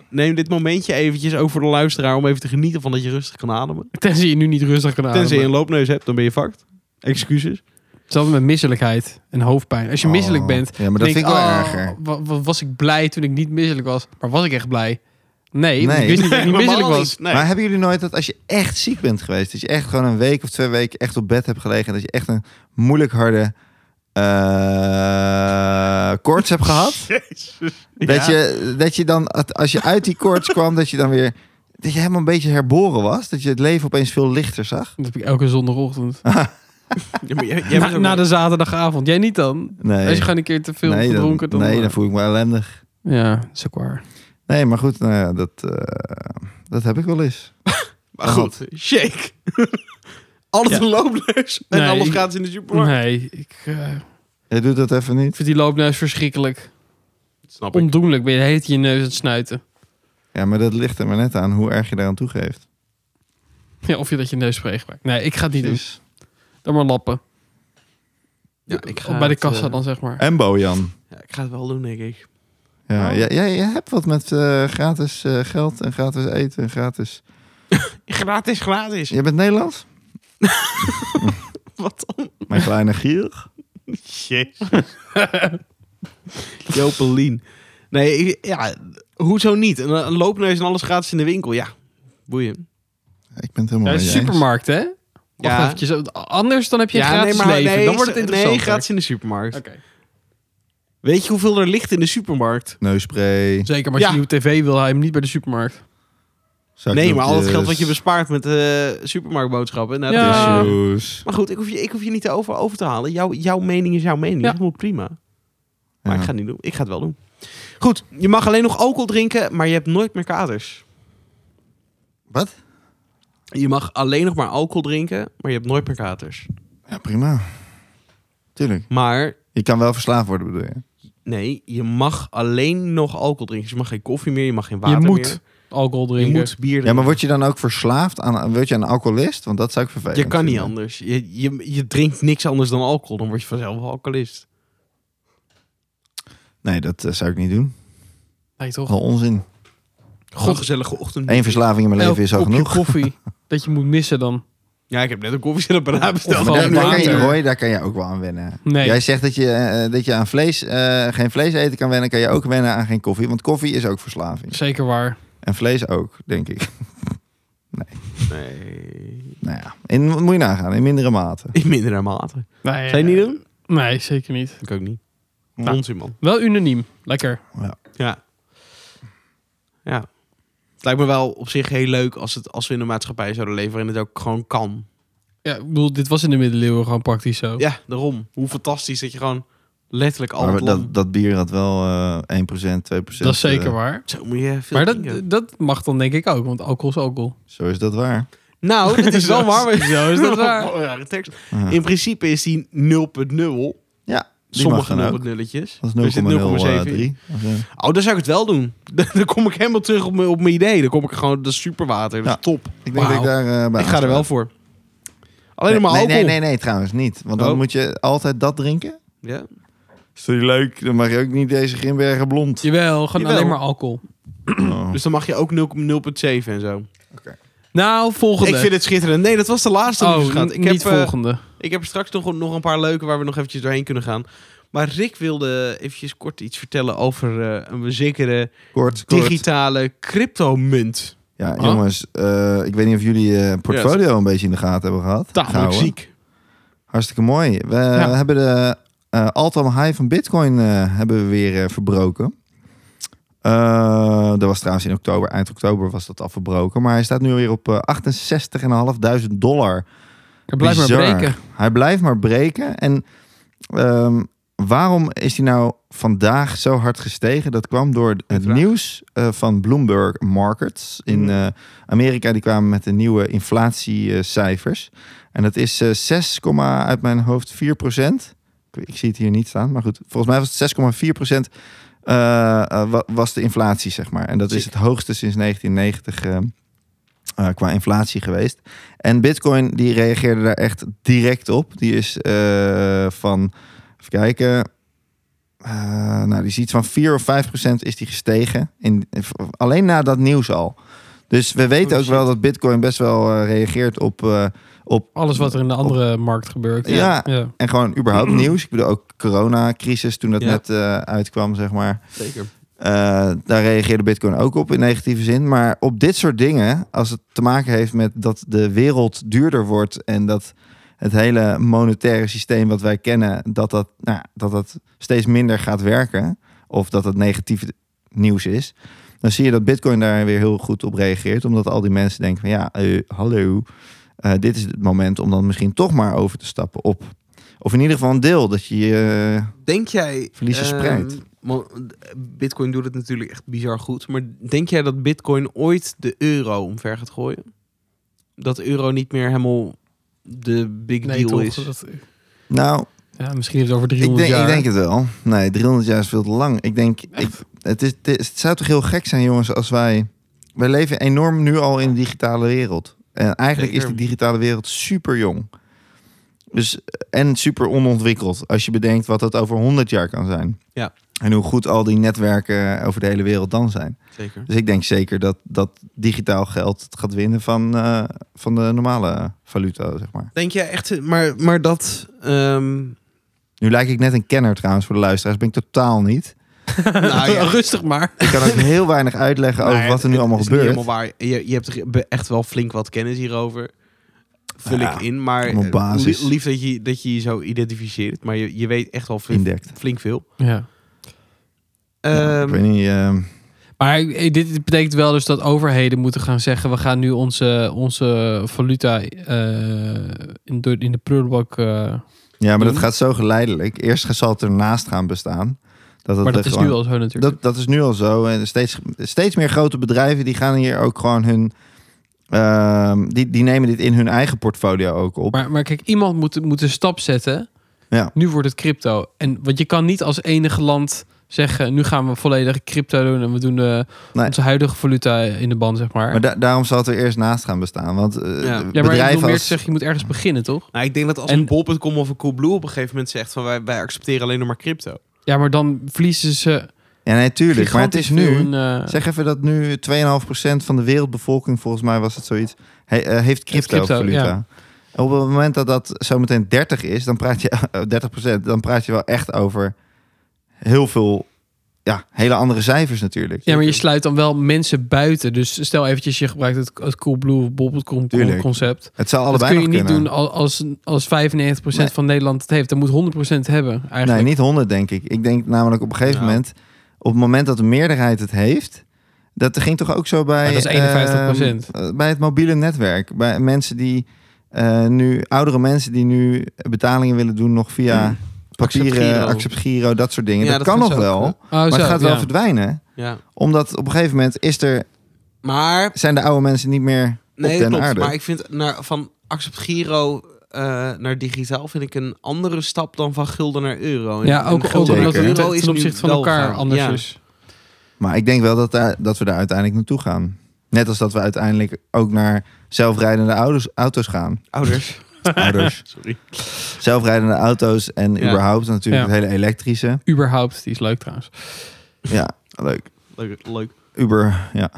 Neem dit momentje eventjes ook voor de luisteraar... om even te genieten van dat je rustig kan ademen.
Tenzij je nu niet rustig kan ademen.
Tenzij je een loopneus hebt, dan ben je fucked. Excuses.
Hetzelfde met misselijkheid en hoofdpijn. Als je misselijk
Oh.
bent,
Ja, maar dat
denk
vind ik wel
oh,
erger.
wa- wa- was ik blij toen ik niet misselijk was? Maar was ik echt blij? Nee, want
Nee.
ik wist niet dat
<laughs>
ik niet misselijk
Normaal
was.
niet. Nee.
Maar hebben jullie nooit dat als je echt ziek bent geweest, dat je echt gewoon een week of twee weken echt op bed hebt gelegen en dat je echt een moeilijk harde eh, koorts hebt
<laughs>
gehad? Dat,
Ja.
je, dat je dan, als je uit die koorts kwam, dat je dan weer, dat je helemaal een beetje herboren was. Dat je het leven opeens veel lichter zag.
Dat heb ik elke zondagochtend.
Ja, maar jij, jij bent
na,
ook
na
wel-
de zaterdagavond. Jij niet dan?
Nee.
Als je gewoon een keer te veel
nee, dan,
gedronken dan... eh.
nee, dan voel ik me ellendig.
Ja, dat is ook waar.
Nee, maar goed, nou ja, dat, eh, dat heb ik wel eens.
Maar goed, shake. <laughs> Alles
Ja.
een loopneus en
Nee,
alles
ik-
gaat in de supermarkt.
Nee, ik eh,
Jij doet dat even niet.
vind die loopneus verschrikkelijk.
Snap ik.
Ondoenlijk ben je de hele tijd je neus aan het snuiten. <laughs>
Ja, maar dat ligt er maar net aan hoe erg je daaraan toegeeft.
Ja, of je dat je neus spreekt. Nee, ik ga het niet doen.
Precies.
Dan maar lappen.
Ja, ik ga
Bij de
het,
kassa
eh,
dan, zeg maar.
Embo, Jan.
Ja, ik ga het wel doen, denk
<laughs>
ik.
Ja,
Oh.
jij, jij, jij hebt wat met eh, gratis eh, geld en gratis eten en gratis...
Gratis, gratis.
Je bent Nederlands?
<laughs> Wat dan?
Mijn kleine gier.
<laughs> Jopelien. Nee, ik- ja, hoezo niet? Een, een loopneus en alles gratis in de winkel, ja. Boeien.
Ik ben het helemaal
Ja,
met
de
je eens.
supermarkt, hè? Wacht
Ja.
eventjes, want anders dan heb je een gratis leven.
nee,
dan wordt het interessant.
Nee, gratis in de supermarkt.
Oké.
Weet je hoeveel er ligt in de supermarkt?
Neusspray,
Zeker, maar als je
Ja.
nieuwe tv wil, hij hem niet bij de supermarkt.
nee, maar al het geld wat je
bespaart.
bespaart met eh supermarktboodschappen. Nou,
Ja.
dat is-
bespaart.
Maar goed, ik hoef je, ik hoef je niet te over, over te halen. Jouw, jouw mening is jouw mening.
Ja.
Dat is helemaal prima. Maar ik ga het niet doen. Ik ga het wel doen. Goed, je mag alleen nog alcohol drinken, maar je hebt nooit meer katers.
Wat?
Je mag alleen nog maar alcohol drinken, maar je hebt nooit meer katers.
Ja, prima. Tuurlijk.
Maar
Je kan wel verslaafd worden, bedoel je?
nee, je mag alleen nog alcohol drinken. Dus je mag geen koffie meer, je mag geen water
je moet
meer.
alcohol
Je
drinken.
moet bier drinken.
Ja, maar word je dan ook verslaafd aan... Word je een alcoholist? Want dat zou ik vervelend
je kan niet
vinden.
anders. Je, je, je drinkt niks anders dan alcohol, dan word je vanzelf wel alcoholist.
Nee, dat eh, zou ik niet doen.
Nee, toch?
Al onzin.
God, gezellige ochtend.
Eén verslaving in mijn
Elk
leven is al
kopje
genoeg.
koffie
<laughs>
dat je moet missen dan.
Ja, ik heb net een koffiezetapparaat besteld.
Of
Maar daar,
Van
daar kan je,
water.
Roy, daar kan je ook wel aan wennen.
Nee.
Jij zegt dat je, eh, dat je aan vlees, eh, geen vlees eten kan wennen, kan je ook wennen aan geen koffie. Want koffie is ook verslaving.
Zeker waar.
En vlees ook, denk ik.
Nee,
Nou ja, in, moet je nagaan, in mindere mate.
in mindere mate.
Nee, eh,
Zijn niet doen?
Nee, zeker niet.
Ik ook niet.
Nou.
Onzin, man.
Wel unaniem. Lekker.
Ja. Ja. Het lijkt me wel op zich heel leuk als, het, als we in een maatschappij zouden leven waarin het ook gewoon kan.
Ja, ik bedoel, dit was in de middeleeuwen gewoon praktisch zo.
Ja, daarom. Hoe fantastisch dat je gewoon letterlijk al
Maar
het land...
dat, dat bier had wel eh 1%, 2%.
dat is zeker
eh,
waar.
Zo moet je veel
Maar
dingen.
dat, dat mag dan denk ik ook, want alcohol is alcohol.
Zo is dat waar.
<laughs>
Nou, dat is wel
Zo
waar. <laughs>
is- zo is dat waar.
Rare tekst.
Ja.
In principe is die 0.0.
Ja.
Sommige
mag dan
nul-
ook.
nulletjes. Dus
Dat
Er
is
zit
0,03.
0,7 in.
Of, eh,
Oh, dan zou ik het wel doen. <laughs> dan kom ik helemaal terug op mijn, op mijn idee. Dan kom ik er gewoon, dat is superwater. Dat is
Ja.
top.
Ik denk dat ik
Wauw.
daar eh, bij
Ik ga er wel
aansluit.
voor. Alleen maar
nee,
alcohol.
nee, nee, nee, trouwens niet. Want dan
Oh.
moet je altijd dat drinken.
Ja?
Is toch niet leuk? Dan mag je ook niet deze Grimbergen blond.
Jawel, gewoon
Jawel.
alleen maar alcohol.
Oh.
Dus dan mag je ook 0,0,7 en zo.
Nou, volgende.
Ik vind het schitterend. Nee, dat was de laatste.
oh,
lieve schat.
n-
ik
niet
heb, eh,
volgende.
ik heb straks nog, nog een paar leuke waar we nog eventjes doorheen kunnen gaan. Maar Rick wilde eventjes kort iets vertellen over eh, een zekere
Kort, kort.
digitale cryptomunt.
Ja,
Oh.
jongens, eh, ik weet niet of jullie eh, portfolio een beetje in de gaten hebben gehad.
Nou,
Tamelijk
Gehouden.
ziek.
Hartstikke mooi. We
Ja.
hebben de eh all-time high van Bitcoin eh, hebben we weer eh, verbroken. Eh, dat was trouwens in oktober, eind oktober was dat al verbroken. Maar hij staat nu weer op eh 68.500 dollar.
Ik blijf maar
bizar.
breken.
Hij blijft maar breken. En ehm, waarom is hij nou vandaag zo hard gestegen? Dat kwam door het
Uiteraard.
nieuws eh, van Bloomberg Markets in
Mm.
eh, Amerika. Die kwamen met de nieuwe inflatiecijfers. En dat is eh 6, uit mijn hoofd 4 procent. Ik, ik zie het hier niet staan, maar goed. Volgens mij was het 6,4 procent. eh, was de inflatie, zeg maar. En dat is
Ziek.
het hoogste sinds 1990 ehm, eh, qua inflatie geweest. En Bitcoin die reageerde daar echt direct op. Die is eh, van, even kijken, Eh, nou die is iets van 4 of 5 procent is die gestegen. In, in- alleen na dat nieuws al. Dus we weten
Oh,
ook
shit.
wel dat Bitcoin best wel eh, reageert op, eh, op
Alles wat er in de andere markt gebeurt.
Ja.
ja.
en gewoon
<clears throat>
überhaupt nieuws. Ik bedoel ook coronacrisis toen dat
Ja.
net eh, uitkwam, zeg maar.
Zeker.
Eh, daar reageerde Bitcoin ook op in negatieve zin. Maar op dit soort dingen, als het te maken heeft met dat de wereld duurder wordt en dat het hele monetaire systeem wat wij kennen, dat dat, nou, ja, dat dat steeds minder gaat werken of dat het negatief nieuws is, dan zie je dat Bitcoin daar weer heel goed op reageert. Omdat al die mensen denken van ja, eh, hallo, eh, dit is het moment om dan misschien toch maar over te stappen op. Of in ieder geval een deel dat je... eh,
Denk jij...
Verliezen
ehm,
spreidt.
want Bitcoin doet het natuurlijk echt bizar goed. Maar denk jij dat Bitcoin ooit de euro omver gaat gooien? Dat de euro niet meer helemaal de big
Nee,
deal
toch.
is?
dat-
nou,
ja, misschien heeft het over
Ik
300
denk,
jaar.
ik denk het wel. Nee, 300 jaar is veel te lang. Ik denk, ik, het, is, het is- het zou toch heel gek zijn, jongens, als wij... Wij leven enorm nu al in de digitale wereld. En eigenlijk is
Zeker.
die digitale wereld super jong. Dus, en super onontwikkeld. Als je bedenkt wat dat over 100 jaar kan zijn.
Ja.
En hoe goed al die netwerken over de hele wereld dan zijn.
Zeker.
Dus ik denk zeker dat, dat digitaal geld het gaat winnen van, eh, van de normale valuta, zeg maar.
Denk jij echt... Maar, maar dat...
<laughs>
ehm,
Nu lijk ik net een kenner trouwens voor de luisteraars. Ben ik totaal niet.
nou ja,
Rustig maar.
Ik kan ook heel weinig uitleggen over
Nee,
wat er nu
het
allemaal
is niet
gebeurt.
helemaal waar. Je, je hebt er be- echt wel flink wat kennis hierover. Vul
Ja,
ik in. Maar
allemaal
eh,
basis.
li- lief dat je, dat je je zo identificeert. Maar je, je weet echt wel flink,
Indekt.
flink veel.
Ja.
Ja, ik
Ehm,
weet niet. ehm,
Maar eh, dit betekent wel dus dat overheden moeten gaan zeggen... we gaan nu onze, onze valuta eh, in, door- in de prullenbak... eh,
ja, maar dat
doen.
gaat zo geleidelijk. Eerst zal het ernaast gaan bestaan. Dat het
maar dat
er
is
gewoon-
nu al zo natuurlijk.
dat, dat is nu al zo. En steeds, steeds meer grote bedrijven die gaan hier ook gewoon hun. ehm, die, die nemen dit in hun eigen portfolio ook op.
Maar, maar kijk, iemand moet, moet een stap zetten.
Ja.
Nu wordt het crypto. En, want je kan niet als enige land zeggen... nu gaan we volledig crypto doen... en we doen de,
Nee.
onze huidige valuta in de band, zeg maar.
Maar da- daarom zal het er eerst naast gaan bestaan. Want
Ja,
eh,
ja, maar ik
bedrijven
bedoel meer te
als-
zeggen... je moet ergens beginnen, toch?
nou, ik denk dat als
En-
een bol.com of een Coolblue op een gegeven moment zegt... van wij, wij accepteren alleen nog maar crypto.
Ja, maar dan verliezen ze
Ja, natuurlijk. maar het is
gigantisch
nu.
veel in, eh,
Zeg even dat nu 2,5% van de wereldbevolking, volgens mij was het zoiets, he- eh, heeft crypto,
crypto,
valuta.
ja.
En Op het moment dat dat zometeen 30 is, dan praat je <laughs> eh, 30%, dan praat je wel echt over heel veel, ja, hele andere cijfers natuurlijk.
Ja, maar je sluit dan wel mensen buiten. Dus stel eventjes, je gebruikt het, het Coolblue of Bob.com
Tuurlijk.
concept.
Het zou
Dat
allebei
kun je
nog
niet
kunnen.
doen al- als, als 95%
Nee.
van Nederland het heeft. Dan moet 100% hebben eigenlijk.
Nee, niet 100 denk ik. Ik denk namelijk op een gegeven
Ja.
moment, op het moment dat de meerderheid het heeft, dat ging toch ook zo bij.
Maar dat is 51%.
ehm, eh, bij het mobiele netwerk, bij mensen die eh, nu oudere mensen die nu betalingen willen doen nog via papieren,
Hmm. Accept
accept
Giro.
giro. dat soort dingen.
Ja,
dat,
dat
kan
gaat
nog
zo.
wel,
Ja.
Oh,
maar
zo,
het gaat wel
ja.
verdwijnen,
Ja.
omdat op een gegeven moment is er,
Maar...
zijn de oude mensen niet meer
Nee,
op den
klopt.
aarde.
Maar ik vind naar, van Accept Giro... eh, eh, naar digitaal vind ik een andere stap dan van gulden naar euro. En-
Ja,
en
ook, ook
gulden
omdat
naar
het
euro
ten,
is
ten
nu
opzichte van
wel
elkaar
gaan.
anders
Ja.
is.
Maar ik denk wel dat, daar- dat we daar uiteindelijk naartoe gaan. Net als dat we uiteindelijk ook naar zelfrijdende auto's, auto's gaan.
Ouders.
<laughs>
<laughs>
Ouders.
Sorry.
Zelfrijdende auto's en
Ja.
überhaupt natuurlijk
Ja.
het hele elektrische.
Überhaupt, die is leuk trouwens.
Ja, leuk.
Leuk. leuk.
Uber, ja.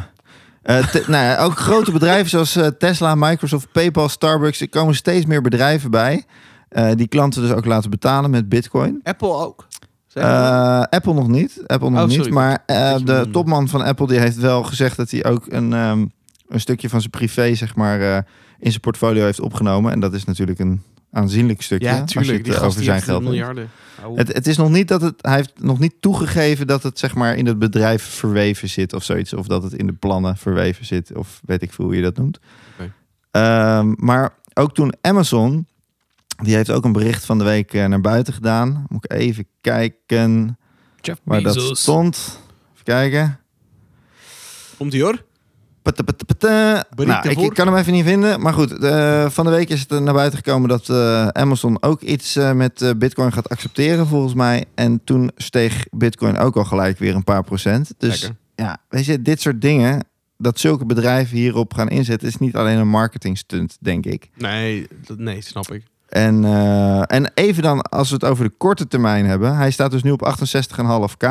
Eh, te- nou ja, ook grote bedrijven zoals eh, Tesla, Microsoft, PayPal, Starbucks. Er komen steeds meer bedrijven bij. eh, die klanten dus ook laten betalen met bitcoin.
Apple ook. Zeg maar.
Eh, Apple nog niet. Apple nog
Oh,
niet.
sorry.
Maar eh,
Dat je me
de
noemde.
topman van Apple die heeft wel gezegd dat hij ook een, ehm, een stukje van zijn privé, zeg maar, eh, in zijn portfolio heeft opgenomen. En dat is natuurlijk een aanzienlijk stukje.
ja,
als je het,
tuurlijk. Die
eh,
gast
over
die
zijn
heeft
geld. hebt.
miljarden. Au.
Het, het is nog niet dat het, hij heeft nog niet toegegeven dat het zeg maar in het bedrijf verweven zit of zoiets. Of dat het in de plannen verweven zit. Of weet ik veel hoe je dat noemt.
Oké.
Ehm, maar ook toen Amazon, die heeft ook een bericht van de week eh, naar buiten gedaan. Moet ik even kijken
Jeff
waar dat
Bezos.
stond. Even kijken.
Komt ie hoor.
Pata, pata, pata.
Bericht
Nou, ik,
daarvoor.
ik kan hem even niet vinden. Maar goed, eh, van de week is het eh, naar buiten gekomen dat eh, Amazon ook iets eh, met eh, Bitcoin gaat accepteren, volgens mij. En toen steeg Bitcoin ook al gelijk weer een paar procent. Dus
Lekker.
ja, weet je, dit soort dingen, dat zulke bedrijven hierop gaan inzetten, is niet alleen een marketing stunt, denk ik.
Nee, dat, nee, snap ik.
En, eh, en even dan, als we het over de korte termijn hebben. Hij staat dus nu op 68,5k.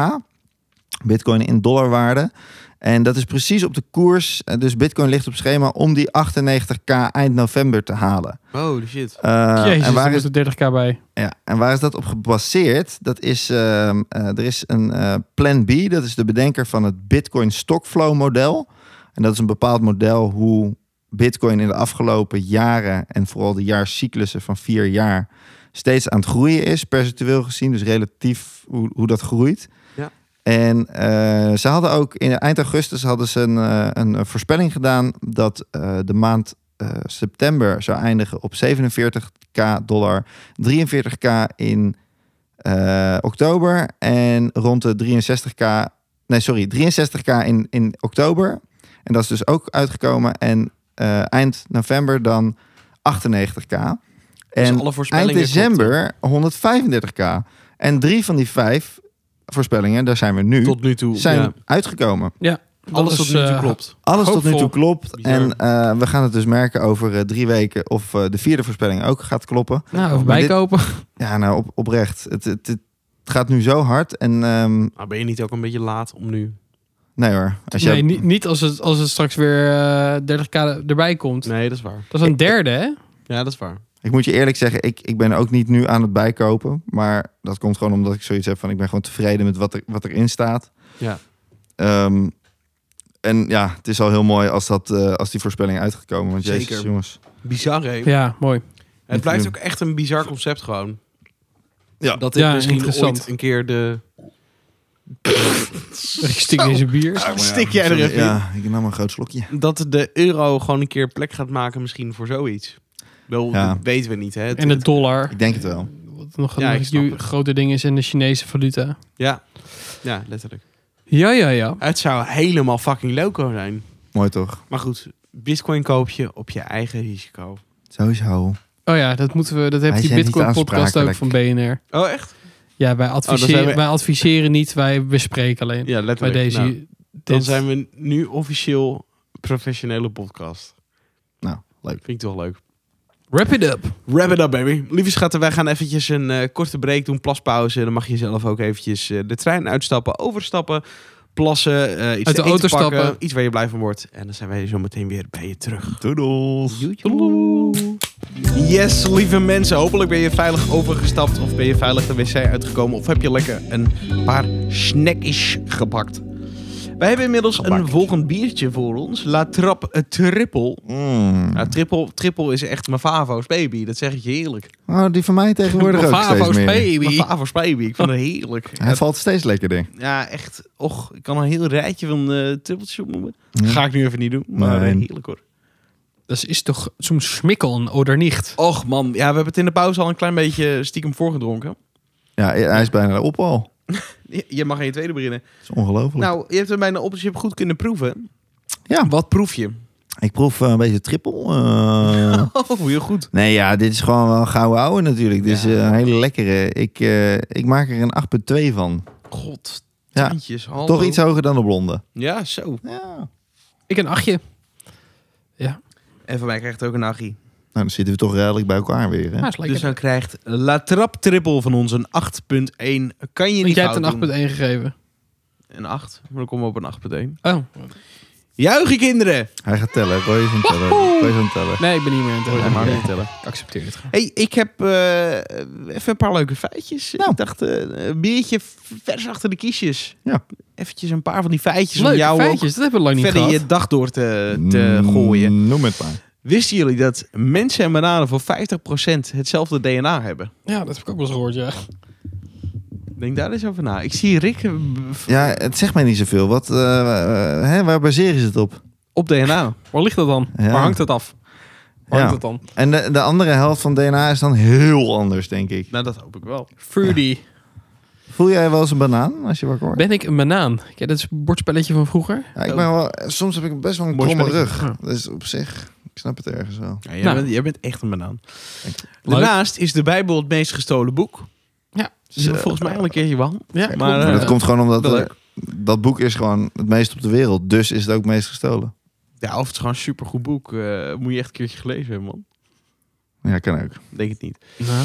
Bitcoin in dollarwaarde. En dat is precies op de koers. Eh, Dus Bitcoin ligt op schema om die 98k eind november te halen.
Holy shit. Dus
Eh,
Jezus,
en,
daar
waar
is
is,
er 30k
Nou,
bij.
ja, en waar is dat op gebaseerd? Dat is, ehm, eh, er is een eh, Plan B. Dat is de bedenker van het Bitcoin Stockflow model. En dat is een bepaald model hoe Bitcoin in de afgelopen jaren en vooral de jaarcyclussen van vier jaar steeds aan het groeien is, percentueel gezien, dus relatief hoe, hoe dat groeit.
Ja.
En eh, ze hadden ook in eind augustus hadden ze een, eh, een voorspelling gedaan dat eh, de maand eh, september zou eindigen op 47k dollar, 43k in eh, oktober en rond de 63k, nee sorry, 63k in, in oktober. En dat is dus ook uitgekomen. En eh, eind november dan 98k.
Dus
En
alle
eind
voorspellingen
december 135k. En drie van die vijf voorspellingen, daar zijn we nu,
klopten tot nu toe.
zijn
ja.
uitgekomen.
Alles
Dat
tot
is,
nu toe
eh,
klopt.
Alles tot nu toe
Hoopvol.
klopt.
Bizar.
En eh, we gaan het dus merken over eh, drie weken of eh, de vierde voorspelling ook gaat kloppen.
Nou, even
Maar dit-
bijkopen.
Ja, nou op, oprecht. Het, het, het gaat nu zo hard. En ehm,
Maar Nou, ben je niet ook een beetje laat om nu?
nee hoor. Als
Nee,
jij-
niet, niet als, het, als het straks weer eh, 30k erbij komt.
Nee, dat is waar.
Dat is een derde, hè?
Ja, dat is waar.
Ik moet je eerlijk zeggen, ik, ik ben ook niet nu aan het bijkopen. Maar dat komt gewoon omdat ik zoiets heb van... ik ben gewoon tevreden met wat, er, wat erin staat.
Ja.
Ehm, en ja, het is al heel mooi als, dat, eh, als die voorspelling uitgekomen. Want jezus,
Zeker.
jongens.
Bizar, hè?
Ja, mooi.
Het blijft ook echt een bizar concept gewoon.
Ja.
Dat dit
Ja,
misschien
interessant.
ooit een keer de...
Ik stik deze bier.
Stik jij er
Sorry,
even
Ja, ik nam een groot slokje.
Dat de euro gewoon een keer plek gaat maken misschien voor zoiets. Wel,
Ja.
dat weten we niet, hè? Het-
En de dollar.
Ik denk het wel.
Wat nog
Ja,
nog
ik
een
snap
ju-
het.
groter ding is. En de Chinese valuta.
Ja. ja, letterlijk.
Ja, ja, ja.
Het zou helemaal fucking loco zijn.
Mooi toch?
Maar goed, bitcoin koop je op je eigen risico.
Sowieso.
Oh ja, dat moeten we. Dat heeft
Wij
die
zijn niet
Bitcoin podcast ook van BNR.
Oh, echt?
Ja, wij adviseren,
zijn we-
wij adviseren niet. Wij bespreken alleen.
Ja,
bij
letterlijk.
deze.
Nou,
dit-
dan zijn we nu officieel professionele podcast.
Nou, leuk.
Vind ik toch leuk.
Wrap it up.
Wrap it up, baby. Lieve schatten, wij gaan eventjes een eh, korte break doen. Plaspauze. Dan mag je zelf ook eventjes eh, de trein uitstappen, overstappen, plassen, eh, iets te
de
eten
auto
pakken,
stappen.
Iets waar je blij van wordt. En dan zijn wij zo meteen weer bij je terug.
Doedels.
Yes, lieve mensen. Hopelijk ben je veilig overgestapt of ben je veilig de wc uitgekomen. Of heb je lekker een paar snackjes gepakt. Wij hebben inmiddels een
Gebakjes.
volgend biertje voor ons. La Trap Triple.
Mm.
Nou, triple, triple is echt mijn Favo's baby. Dat zeg ik je eerlijk.
Oh, die van mij tegenwoordig ook steeds
Favo's
meer.
Mijn
baby.
Favo's baby. Ik vind het heerlijk.
Hij valt steeds lekkerder.
Ja, echt. Och, ik kan een heel rijtje van eh trippeltjes opnoemen.
Ja.
Ga ik nu even niet doen. Maar
Nee.
eh, heerlijk hoor.
Dat is toch zo'n smikkel oder niet?
Och man, ja, we hebben het in de pauze al een klein beetje stiekem voorgedronken.
Ja, hij is bijna op al.
Je, je mag aan je tweede beginnen.
Dat is ongelooflijk.
Nou, je hebt hem bijna op, dus je hebt goed kunnen proeven.
Ja.
Wat proef je?
Ik proef eh, een beetje trippel. eh.
Oh, heel goed.
nee, ja, dit is gewoon wel een gouden ouwe natuurlijk. Dit is
Ja.
eh, een hele lekkere. Ik, eh, ik maak er een 8,2 van.
God.
Ja.
tientjes, hallo.
Toch iets hoger dan de blonde.
Oh, Ja, zo.
Ja.
Ik een achtje.
En van mij krijgt ook een achie.
Nou, dan zitten we toch redelijk bij elkaar weer. Hè?
Ja, is lekker.
Dus dan krijgt La Trap Triple van ons een 8.1. Kan je
Want
niet
jij hebt
fout
een 8.1
doen.
gegeven.
Een 8. Maar dan komen we op een 8.1.
Oh,
Juichen kinderen!
Hij gaat tellen. Roy is aan het tellen. Roy is aan het tellen.
nee, ik ben niet meer aan het
Ja,
tellen.
maar
Nee,
niet tellen.
Ik accepteer het gewoon.
Hey, ik heb eh, even een paar leuke feitjes.
Nou.
Ik dacht, eh, een biertje vers achter de kiesjes.
Ja.
Eventjes een paar van die feitjes om
Leuke
jou
feitjes, dat hebben we
ook
lang niet
verder
gehad.
je dag door te, te eh,
Mm.
gooien.
Noem het maar.
Wisten jullie dat mensen en bananen voor 50% hetzelfde DNA hebben?
Ja, dat heb ik ook wel eens gehoord, ja.
Denk daar eens over na. Ik zie Rick eh, v-
Ja, het zegt mij niet zoveel. Wat, eh, eh, hè, waar baseren ze het op?
op DNA.
Waar ligt dat dan?
Ja.
Waar hangt dat af? Waar
Ja.
hangt dat dan?
En de, de andere helft van DNA is dan heel anders, denk ik.
Nou, dat hoop ik wel.
Fruity.
Voel jij wel eens een banaan als je wakker wordt?
Ben ik een banaan? Ken je dat is een bordspelletje van vroeger?
Ja, ik ben wel, soms heb ik best wel een
Mooi
kromme
spelletje.
rug. Dus op zich, ik snap het ergens wel.
Ja, jij,
Nou.
bent, jij bent echt een banaan.
Dank
je.
Daarnaast is de Bijbel het meest gestolen boek.
Ja.
Dus hebben we volgens mij al een keertje behandeld.
Ja,
Maar,
klopt.
Maar dat
eh,
komt gewoon omdat
wel
eh,
leuk.
dat boek is gewoon het meest op de wereld. Dus is het ook het meest gestolen.
Ja, of het is gewoon een supergoed boek. Eh, moet je echt een keertje gelezen hebben, man.
Ja, kan ook.
Denk het niet.
Ja.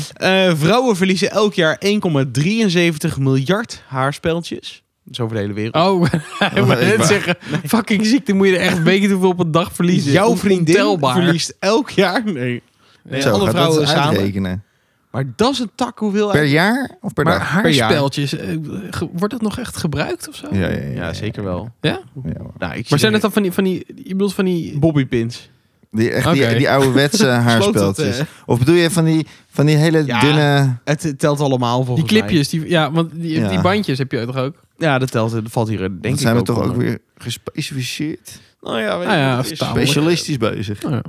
Eh, vrouwen verliezen elk jaar 1,73 miljard haarspeltjes. Dat is over de hele wereld.
Oh, <laughs> ik moet
Echt
net
waar.
zeggen, fucking ziekte moet je er echt weken hoeveel op een dag verliezen.
Jouw vriendin
Ontelbaar.
verliest elk jaar... Nee, nee
Zo,
alle
gaat dat
vrouwen
eens
samen.
uitrekenen.
Maar dat is een tak hoeveel...
Per jaar of per
Maar
dag?
haarspeltjes, eh, ge- wordt dat nog echt gebruikt of zo?
Ja, ja, ja,
Ja, zeker wel.
Ja, hoor.
Nou, ik
Maar zijn het dan van die, van die, je bedoelt van die...
Bobbypins.
Die, echt
Oké.
die, die
<laughs>
ouderwetse haarspeltjes. Of bedoel je van die, van die hele
eh? Ja.
dunne...
Het, het telt allemaal
Die
volgens
clipjes, die, ja, want die,
Ja.
die bandjes heb je toch ook?
mij. Ja, dat telt. Dat valt hier denk
Dat
ik
zijn we toch ook
onder.
weer gespecificeerd.
Nou ja, weet
Ah
je,
ja,
het is-
vertaal. Namelijk-
Specialistisch bezig.
Oh, ja.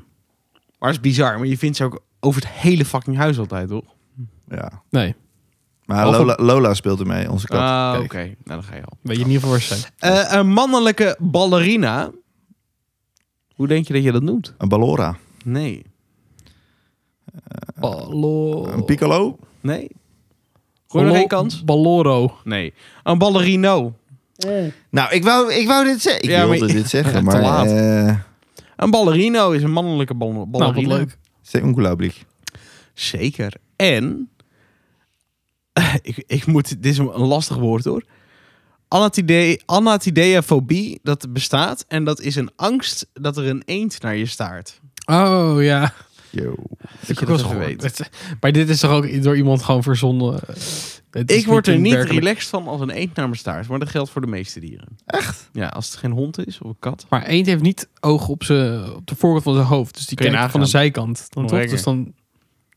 Maar het is bizar, maar je vindt ze ook over het hele fucking huis altijd, toch?
Ja.
Nee,
Maar
Of-
Lola, Lola speelt ermee, onze kat.
Ah, oké.
Kijk.
Nou, dan ga je al.
weet je in ieder geval waar ze zijn.
Eh, een mannelijke ballerina. Hoe denk je dat je dat noemt?
Een Ballora.
Nee.
Eh, Ballo...
Een Piccolo.
Nee? Gooi nog
Ballo-
één kans?
Balloro. Nou,
Nee. Een ballerino.
Nou, ik wou, ik wou dit zeggen. Ik
Ja,
wilde
maar-
dit zeggen,
<laughs> Te
maar...
laat.
eh,
Een ballerino is een mannelijke bal
Nou,
ballerina.
wat leuk.
Het is ongelooflijk.
Zeker. En... <laughs> ik, ik moet... Dit is een een lastig woord, hoor. Anatide- Anatideafobie, dat bestaat. En dat is een angst dat er een eend naar je staart.
Oh, ja.
Yo.
Dat
Ik
je
heb
dat
wel
even
gehoord.
weet.
Het- Maar dit is toch ook door iemand gewoon verzonnen. Eh, het is
Ik word er
een
niet
werkelijk-
relaxed van als een eend naar mijn staart. Maar dat geldt voor de meeste dieren. Echt? Ja, als het geen hond is of een kat.
Maar eend heeft niet oog op, zijn, op de voorkant van zijn hoofd. Dus die
Kun je
kijkt van de zijkant. Dan
Nog
toch?
lekker.
Dus dan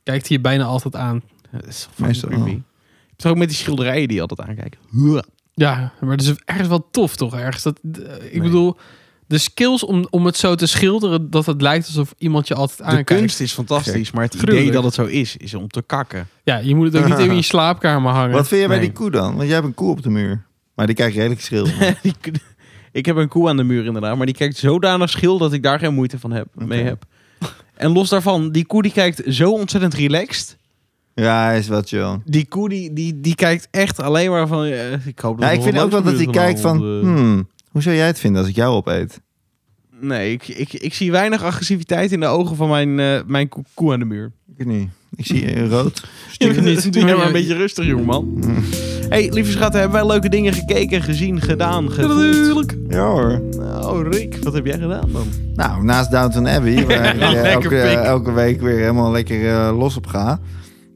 kijkt hij je bijna altijd aan.
Dat is
Meestal
meestal creepy.
wel.
Het is ook met die schilderijen die je altijd aankijken. Huh.
Ja, maar dat is ergens wel tof toch? Ergens dat, eh, ik bedoel, de skills om, om het zo te schilderen... dat het lijkt alsof iemand je altijd
De
aankijkt.
kunst is fantastisch, maar het idee
Gruwelijk.
dat het zo is, is om te kakken. <laughs>
Ja, je moet het ook niet
<laughs>
in je slaapkamer hangen.
Wat vind je bij
Nee.
die koe dan? Want jij hebt een koe op de muur. Maar die kijkt redelijk schil.
Die kun- ik heb een koe aan de muur inderdaad, maar die kijkt zodanig schil dat ik daar geen moeite van heb, mee
Oké.
heb. En los daarvan, die koe die kijkt zo ontzettend relaxed.
ja, hij is wel chill.
Die koe die, die, die kijkt echt alleen maar van... eh, ik hoop dat er
Ja, ik
nog
vind
een
ook wel dat hij
leuke
kijkt van...
vanavond, eh,
Hmm, hoe zou jij het vinden als ik jou opeet?
Nee, ik, ik, ik zie weinig agressiviteit in de ogen van mijn, eh, mijn koe, koe aan de muur.
Ik weet niet. Ik zie eh, rood.
weet het niet.
Doe jij maar een
Ja,
beetje rustig, jongeman.
Mm.
<laughs> hey, lieve schatten, hebben wij leuke dingen gekeken, gezien, gedaan, gevoeld?
Natuurlijk.
Ja hoor.
Nou, Rick, wat heb jij gedaan dan?
Nou, naast Downton Abbey, waar ik eh,
Lekker
elke,
pik.
elke week weer helemaal lekker eh, los op ga,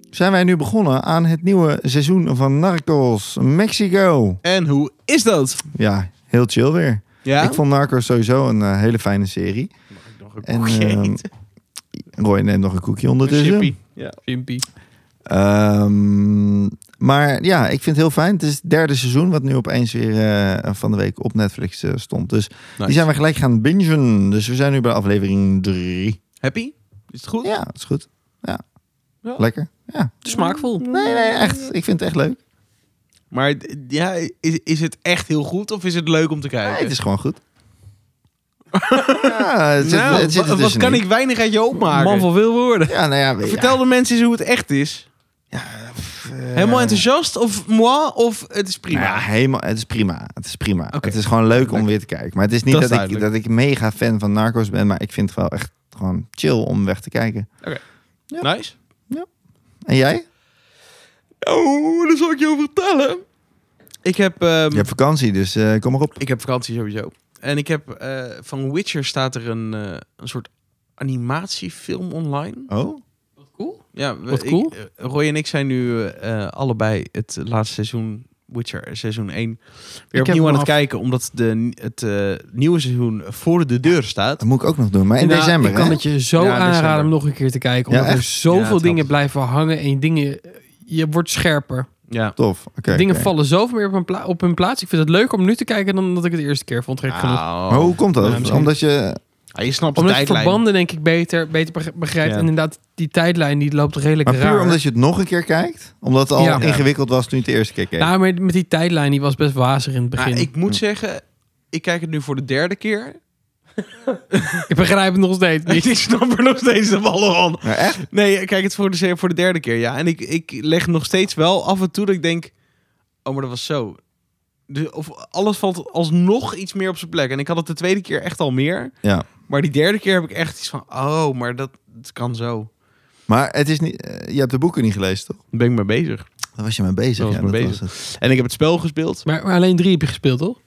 zijn wij nu begonnen aan het nieuwe seizoen van Narcos Mexico.
En hoe is dat?
Ja, heel chill weer.
Ja?
Ik vond Narcos sowieso een eh, hele fijne serie. En,
eh,
ehm, Roy neemt nog een koekje ondertussen.
Ja.
Vimpie.
Ehm, maar ja, ik vind het heel fijn. Het is het derde seizoen, wat nu opeens weer eh, van de week op Netflix eh, stond. Dus die zijn we gelijk gaan bingen. Dus we zijn nu bij aflevering drie.
Happy? Is het goed?
Ja, dat is goed. Ja.
Ja.
Lekker. Ja.
Smaakvol.
Nee, nee, echt. Ik vind het echt leuk.
Maar d- ja, is, is het echt heel goed of is het leuk om te <laughs>
Nee,
kijken?
het is gewoon goed. Ja, het zit,
nou,
het zit er
wat, wat
tussenin.
kan ik weinig uit je opmaken?
Man van veel woorden.
Ja, nou ja, weet-
Vertel de mensen eens hoe het echt is.
ja, pff, eh,
Helemaal enthousiast of moi of het is prima?
Nou ja, helemaal, het is prima. Het is prima.
Oké.
Het is gewoon leuk om weer te kijken. Maar het is niet
Dat
dat,
is
ik, dat
duidelijk.
ik mega fan van Narcos ben, maar ik vind het wel echt gewoon chill om weg te kijken. ja.
Nice.
En jij?
Oh, daar zal ik je over vertellen. Ik heb, ehm,
Je hebt vakantie, dus eh, kom maar op.
ik heb vakantie sowieso. En ik heb eh, van Witcher staat er een, eh, een soort animatiefilm online.
Oh?
Cool. Ja, we-
Wat
ik-
cool.
eh, Roy en ik zijn nu eh, eh, allebei het laatste seizoen Witcher eh, seizoen 1 weer
heb
opnieuw
hem
aan het
af.
kijken. Omdat de, het eh, nieuwe seizoen voor de deur staat.
Dat moet ik ook nog doen. Maar in
Nou,
december,
Ik kan
hè?
het je zo
Ja,
aanraden
december.
om nog een keer te kijken.
Ja,
Omdat er
echt?
Ja, het
zoveel
helpt.
dingen blijven hangen en dingen... eh, Je wordt scherper.
Ja.
Tof. Oké.
dingen
oké.
vallen zoveel meer op hun, pla- op hun plaats. Ik vind het leuker om nu te kijken dan dat ik het de eerste keer vond. Gek
Ah,
genoeg.
Nou,
Maar hoe komt dat?
Ja, misschien-
Omdat je...
Ja, je snapt de
Omdat ik
tijdlijn.
verbanden denk ik beter, beter beg- begrijpt.
Ja.
En inderdaad, die tijdlijn die loopt redelijk
Maar puur
raar.
omdat je het nog een keer kijkt? Omdat het al
Ja.
ingewikkeld was toen je het de eerste keer keek?
Nou, maar met die tijdlijn die was best wazig in het begin.
Maar
<laughs> ik...
Ah, ik moet zeggen, ik kijk het nu voor de derde keer.
begrijp het
<laughs>
nog steeds
<laughs>
niet.
ik snap er nog steeds de ballen van.
Maar echt?
Nee, ik kijk het voor de, voor de derde keer, ja. En ik, ik leg nog steeds wel af en toe dat ik denk... Oh, maar dat was zo. De, of alles valt alsnog iets meer op zijn plek. En ik had het de tweede keer echt al meer.
Ja.
Maar die derde keer heb ik echt iets van... Oh, maar dat, dat kan zo.
Maar het is niet... eh, je hebt de boeken niet gelezen, toch?
Daar ben ik mee bezig.
Daar was je mee bezig.
Daar was
ja,
ik mee
dat
bezig.
was het.
En ik heb het spel gespeeld.
Maar, maar alleen drie heb je gespeeld, toch?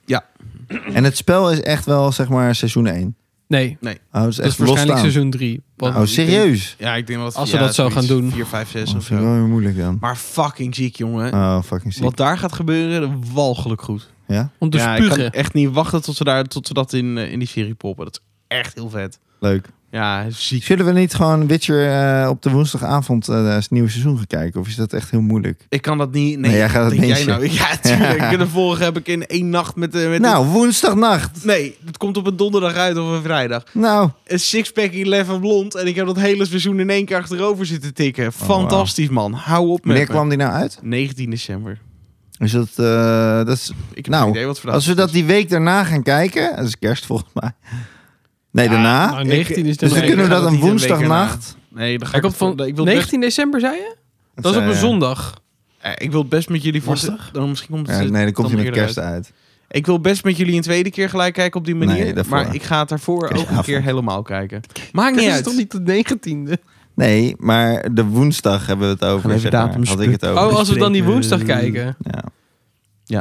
En het spel is echt wel, zeg maar, seizoen 1.
Nee,
Oh, het is
dat is
echt
waarschijnlijk
losstaan.
seizoen drie. Want-
Oh, serieus?
Ja, ik denk dat...
Als ze
ja,
dat zo gaan doen.
4, 5, 6
Dat
of
vind ik
zo.
wel weer moeilijk dan.
Maar fucking ziek, jongen.
Oh, fucking sick.
Wat daar gaat gebeuren, walgelijk goed.
Ja,
om te
ja, ik
spugen.
kan echt niet wachten tot ze, daar, tot ze dat in, eh, in die serie poppen. Dat is echt heel vet.
leuk.
Ja, ziek.
Zullen we niet gewoon Witcher eh, op de woensdagavond eh, het nieuwe seizoen gaan kijken? Of is dat echt heel moeilijk?
Ik kan dat niet. Nee,
Nee, jij gaat
wat
het
denk jij
mensen.
nou? <laughs> Ja,
<laughs>
tuurlijk. De vorige heb ik in één nacht met... eh, met
Nou, woensdagnacht.
een- Nee, het komt op een donderdag uit of een vrijdag.
Nou,
Een sixpack in Leven Blond. En ik heb dat hele seizoen in één keer achterover zitten tikken. Fantastisch, man. Hou op met
wanneer
me.
Oh, kwam die nou uit?
19 december.
Is dat, eh, dat is,
Ik heb
Nou,
geen idee wat voor
als we dat die week daarna gaan kijken, dat is kerst volgens mij. Nee,
Ja,
daarna.
nou, 19 is
Dus
nee,
dan
ik
kunnen we
ga
dat
dat
een
niet een week
woensdagnacht.
Nee, dan ga
Hij
ik
komt
het voor-
van
Ik wil het best-
19 december, zei je? Dat is op een zondag.
eh, Ik wil het best met jullie voor...
Lastig.
Dan misschien komt het
Ja, nee, dan komt hij
dan
met
eerder uit.
kerst uit.
Ik wil best met jullie een tweede keer gelijk kijken op die manier.
Nee, daarvoor.
maar ik ga het daarvoor ook een
Kerstavond.
keer helemaal kijken. Maakt
Dat
niet
is
uit.
toch niet de 19e?
Nee, maar de woensdag hebben we het over.
Gaan even
zeg maar.
datums-
Had ik het over.
Oh, als we dan die
bespreken.
woensdag kijken.
Ja.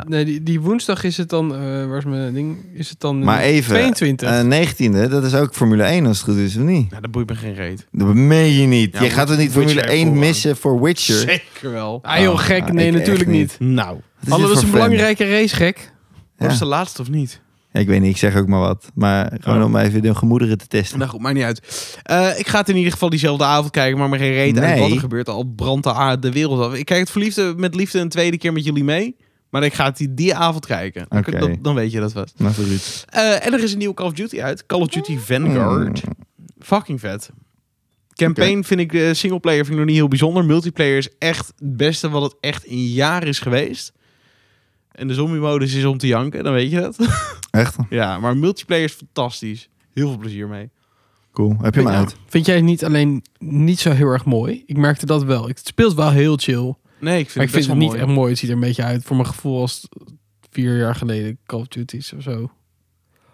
Nee, die, die woensdag is het dan... eh, waar is mijn ding? Is het dan eh,
Maar even,
22?
eh, 19e, dat is ook Formule 1 als het goed is, of niet?
Nou, dat boeit me geen reet.
Dat meen je niet.
Ja,
je gaat het niet
Witcher
Formule 1
voor-
missen voor Witcher.
Zeker wel.
ah joh,
Oh,
gek.
nou,
nee,
ik echt
natuurlijk
niet.
niet.
Nou,
Wat is
Hallo,
dit
dat is
voor
een
fan?
belangrijke race, gek.
was
Ja.
de laatste of niet?
Ja, ik weet niet, ik zeg ook maar wat. Maar gewoon
Oh.
om even de gemoederen te testen.
Nou goed, maakt niet uit. Eh, ik ga het in ieder geval diezelfde avond kijken, maar maar geen reet uit
Nee.
wat er gebeurt. Al brandt de aarde de wereld af. Ik kijk het voor liefde, met liefde een tweede keer met jullie mee. Maar ik ga het die, die avond kijken. Dan,
Oké.
dat- dan weet je dat vast.
Nou, vooruit.
Eh, en er is een nieuwe Call of Duty uit. Call of Duty Vanguard. Fucking vet. Campaign vind ik, eh, singleplayer vind ik nog niet heel bijzonder. Multiplayer is echt het beste wat het echt in jaren is geweest. En de zombie-modus is om te janken, dan weet je dat. <laughs>
Echt?
ja, maar multiplayer is fantastisch. Heel veel plezier mee.
Cool. Heb je hem
Ja.
uit?
Vind jij het niet alleen niet zo heel erg mooi? Ik merkte dat wel. Het speelt wel heel chill.
Nee, ik vind
Maar ik
het best
vind het
wel
niet
mooi.
echt mooi. Het ziet er een beetje uit voor mijn gevoel als vier jaar geleden Call of Duty's of zo.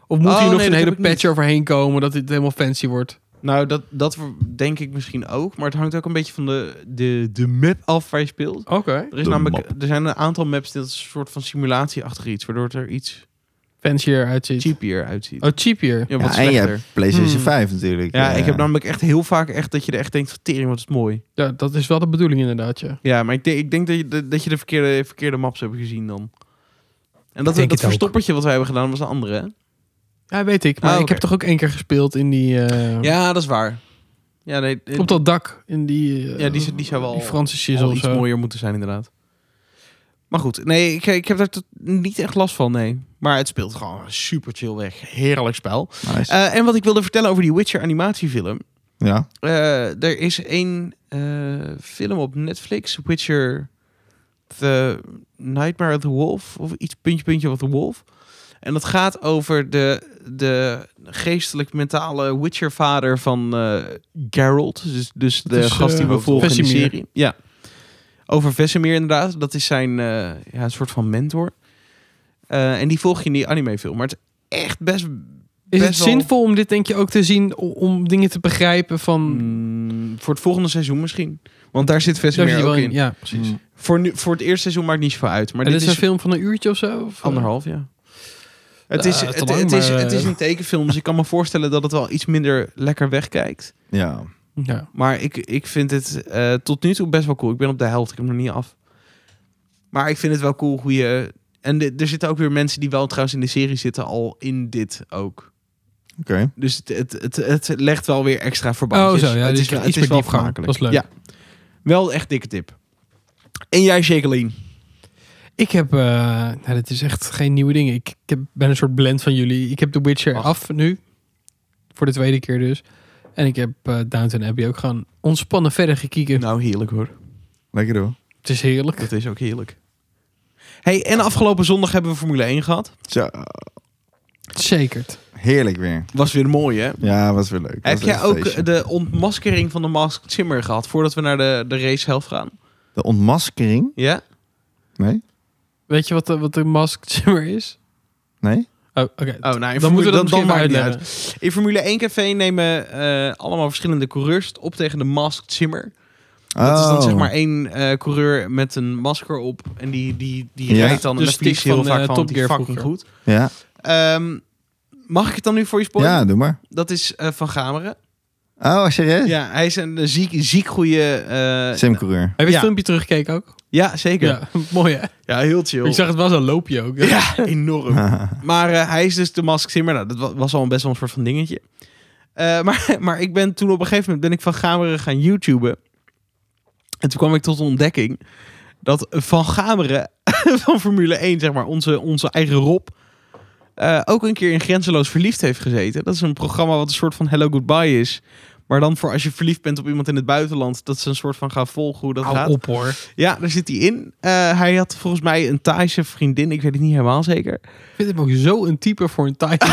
Of moet
Oh,
hier nog
nee,
een
dat
hele
heb ik niet.
patch overheen komen dat dit helemaal fancy wordt?
Nou, dat, dat denk ik misschien ook. Maar het hangt ook een beetje van de, de, de map af waar je speelt.
Oké.
Er, is
De
namelijk, er zijn een aantal maps dat is een soort van simulatie achter iets. Waardoor het er iets
Fancier uitziet.
cheapier uitziet.
Oh, cheap hier.
Ja, wat
Ja, en je
slechter.
hebt PlayStation
Hmm.
5 natuurlijk.
Ja,
Eh,
ik heb namelijk echt heel vaak echt dat je er echt denkt van tering, wat is het mooi.
Ja, dat is wel de bedoeling inderdaad, ja.
Ja, maar ik, denk- ik denk dat je, de, dat je de verkeerde, verkeerde maps hebt gezien dan. En dat,
denk
dat
het ook.
verstoppertje wat wij hebben gedaan was een andere, hè?
Ja, weet ik. Maar
Ah,
ik
oké.
heb toch ook één keer gespeeld in die... eh,
Ja, dat is waar. Ja, nee, eh,
Op dat dak. In die... eh,
Ja, die zou- die zou wel-
Die Franse shizzle
zal
of
iets
zo.
mooier moeten zijn inderdaad. Maar goed, nee, ik, ik heb daar tot- niet echt last van, nee. Maar het speelt gewoon super chill weg. Heerlijk spel.
nice.
Eh, en wat ik wilde vertellen over die Witcher animatiefilm.
ja.
Eh, er is één eh, film op Netflix, Witcher The Nightmare of the Wolf, of iets puntje puntje of the Wolf. En dat gaat over de, de geestelijk-mentale Witcher-vader van eh Geralt. Dus, dus de
is,
gast die
eh,
we volgen in de
Vesemir.
serie. Ja. Over Vesemir inderdaad. Dat is zijn eh, ja, een soort van mentor. Eh, en die volg je in die animefilm. Maar het is echt best...
Is het
best wel-
zinvol om dit denk je ook te zien o- om dingen te begrijpen van...
Mm, voor het volgende seizoen misschien. Want daar zit
Daar zit
Vesemir
je wel
ook in.
in. Ja, precies.
Mm.
Voor, nu, voor het eerste seizoen maakt niet zoveel uit. Maar
en
dit
dit is een
is
film van een uurtje of zo? Of, eh?
Anderhalf, ja. Het,
Ja,
is,
te
het,
lang,
het is,
maar,
het
eh,
is een tekenfilm, dus ik kan me voorstellen dat het wel iets minder lekker wegkijkt.
Ja.
Ja.
Maar ik, ik vind het eh, tot nu toe best wel cool. Ik ben op de helft, ik heb hem nog niet af. Maar ik vind het wel cool hoe je... En de- er zitten ook weer mensen die wel trouwens in de serie zitten al in dit ook.
Oké.
Dus het, het, het, het legt wel weer extra
Oh
verbandjes.
zo, ja.
het
dus
is,
iets
het
meer
is wel
diepgang.
vermakelijk.
Dat is leuk.
Ja, wel echt dikke tip. En jij, Jacqueline?
Ik heb, eh nou, dit is echt geen nieuwe ding. Ik, ik heb, ben een soort blend van jullie. Ik heb The Witcher
Ach.
af nu. Voor de tweede keer dus. En ik heb eh Downton Abbey ook gewoon ontspannen verder gekeken.
Nou, heerlijk hoor.
Lekker hoor.
Het is heerlijk.
Dat is ook heerlijk. Hey, en afgelopen zondag hebben we Formule 1 gehad.
Zo,
Zeker.
heerlijk weer.
Was weer mooi, hè?
Ja, was weer leuk.
Heb
Was
jij
echt een
ook eh,
feestje.
de ontmaskering van de Masked Simmer gehad voordat we naar de, de racehelft gaan?
De ontmaskering?
Ja?
Nee?
Weet je wat de, wat de <laughs> Masked Singer is?
Nee?
Oh, oké.
nou, in Formule-
dan moeten we
dan-
dat
dan
misschien maar
maakt het niet
uitleggen.
In Formule 1 Café nemen eh, allemaal verschillende coureurs het op tegen de Masked Simmer. Dat is dan
Oh.
zeg maar één eh, coureur met een masker op. En die, die, die
Ja.
rijdt dan en
Dus
daar verlies
stick
je heel
van,
vaak
eh,
van,
Top
want die
Gear
fucking goed.
Ja.
Ehm, mag ik het dan nu voor je spoilen?
ja, doe maar.
Dat is eh, Van Gameren.
Oh, serieus?
Ja, hij is een eh, ziek, ziek goede... eh,
Simcoureur.
Heb je
Ja.
het filmpje teruggekeken ook?
ja, zeker. Ja,
Ja, <laughs> mooi hè?
heel chill.
Ik zag het wel zo'n loopje ook.
<laughs> Ja,
<laughs>
enorm. Maar eh, hij is dus de Mask Simmer. Nou, dat wa- was al best wel een soort van dingetje. Eh, <laughs> maar, maar ik ben toen op een gegeven moment ben ik van Gameren gaan YouTuben. En toen kwam ik tot de ontdekking dat Van Gameren <laughs> van Formule 1, zeg maar, onze, onze eigen Rob, eh, ook een keer in Grenzeloos Verliefd heeft gezeten. Dat is een programma wat een soort van Hello Goodbye is. Maar dan voor als je verliefd bent op iemand in het buitenland, dat ze een soort van gaan volgen hoe dat gaat.
Hou op hoor.
Ja, daar zit hij in. Eh, hij had volgens mij een Thaise vriendin. Ik weet het niet helemaal zeker.
Ik vind hem ook zo een type voor een
<laughs>
Titan.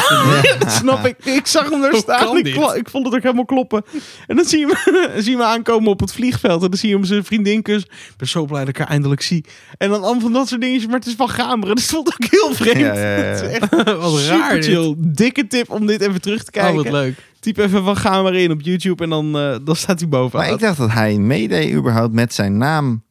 dat snap ik. Ik zag hem daar
Hoe
staan.
kan
Ik,
dit?
kla- ik vond het ook helemaal kloppen. En dan zie je hem, <laughs> dan zie je hem aankomen op het vliegveld. En dan zie je hem zijn vriendin kussen. Ik ben zo blij dat ik haar eindelijk zie. En dan allemaal van dat soort dingetjes. Maar het is van Gameren. Dus dat vond ik heel vreemd.
Ja, ja, ja.
Het is echt
<laughs> Wat raar
super
dit.
chill. Dikke tip om dit even terug te
Oh,
kijken.
wat leuk.
Typ even van Gameren in op YouTube. En dan, eh, dan staat hij bovenaan.
Maar ik dacht dat hij meedeed überhaupt met zijn naam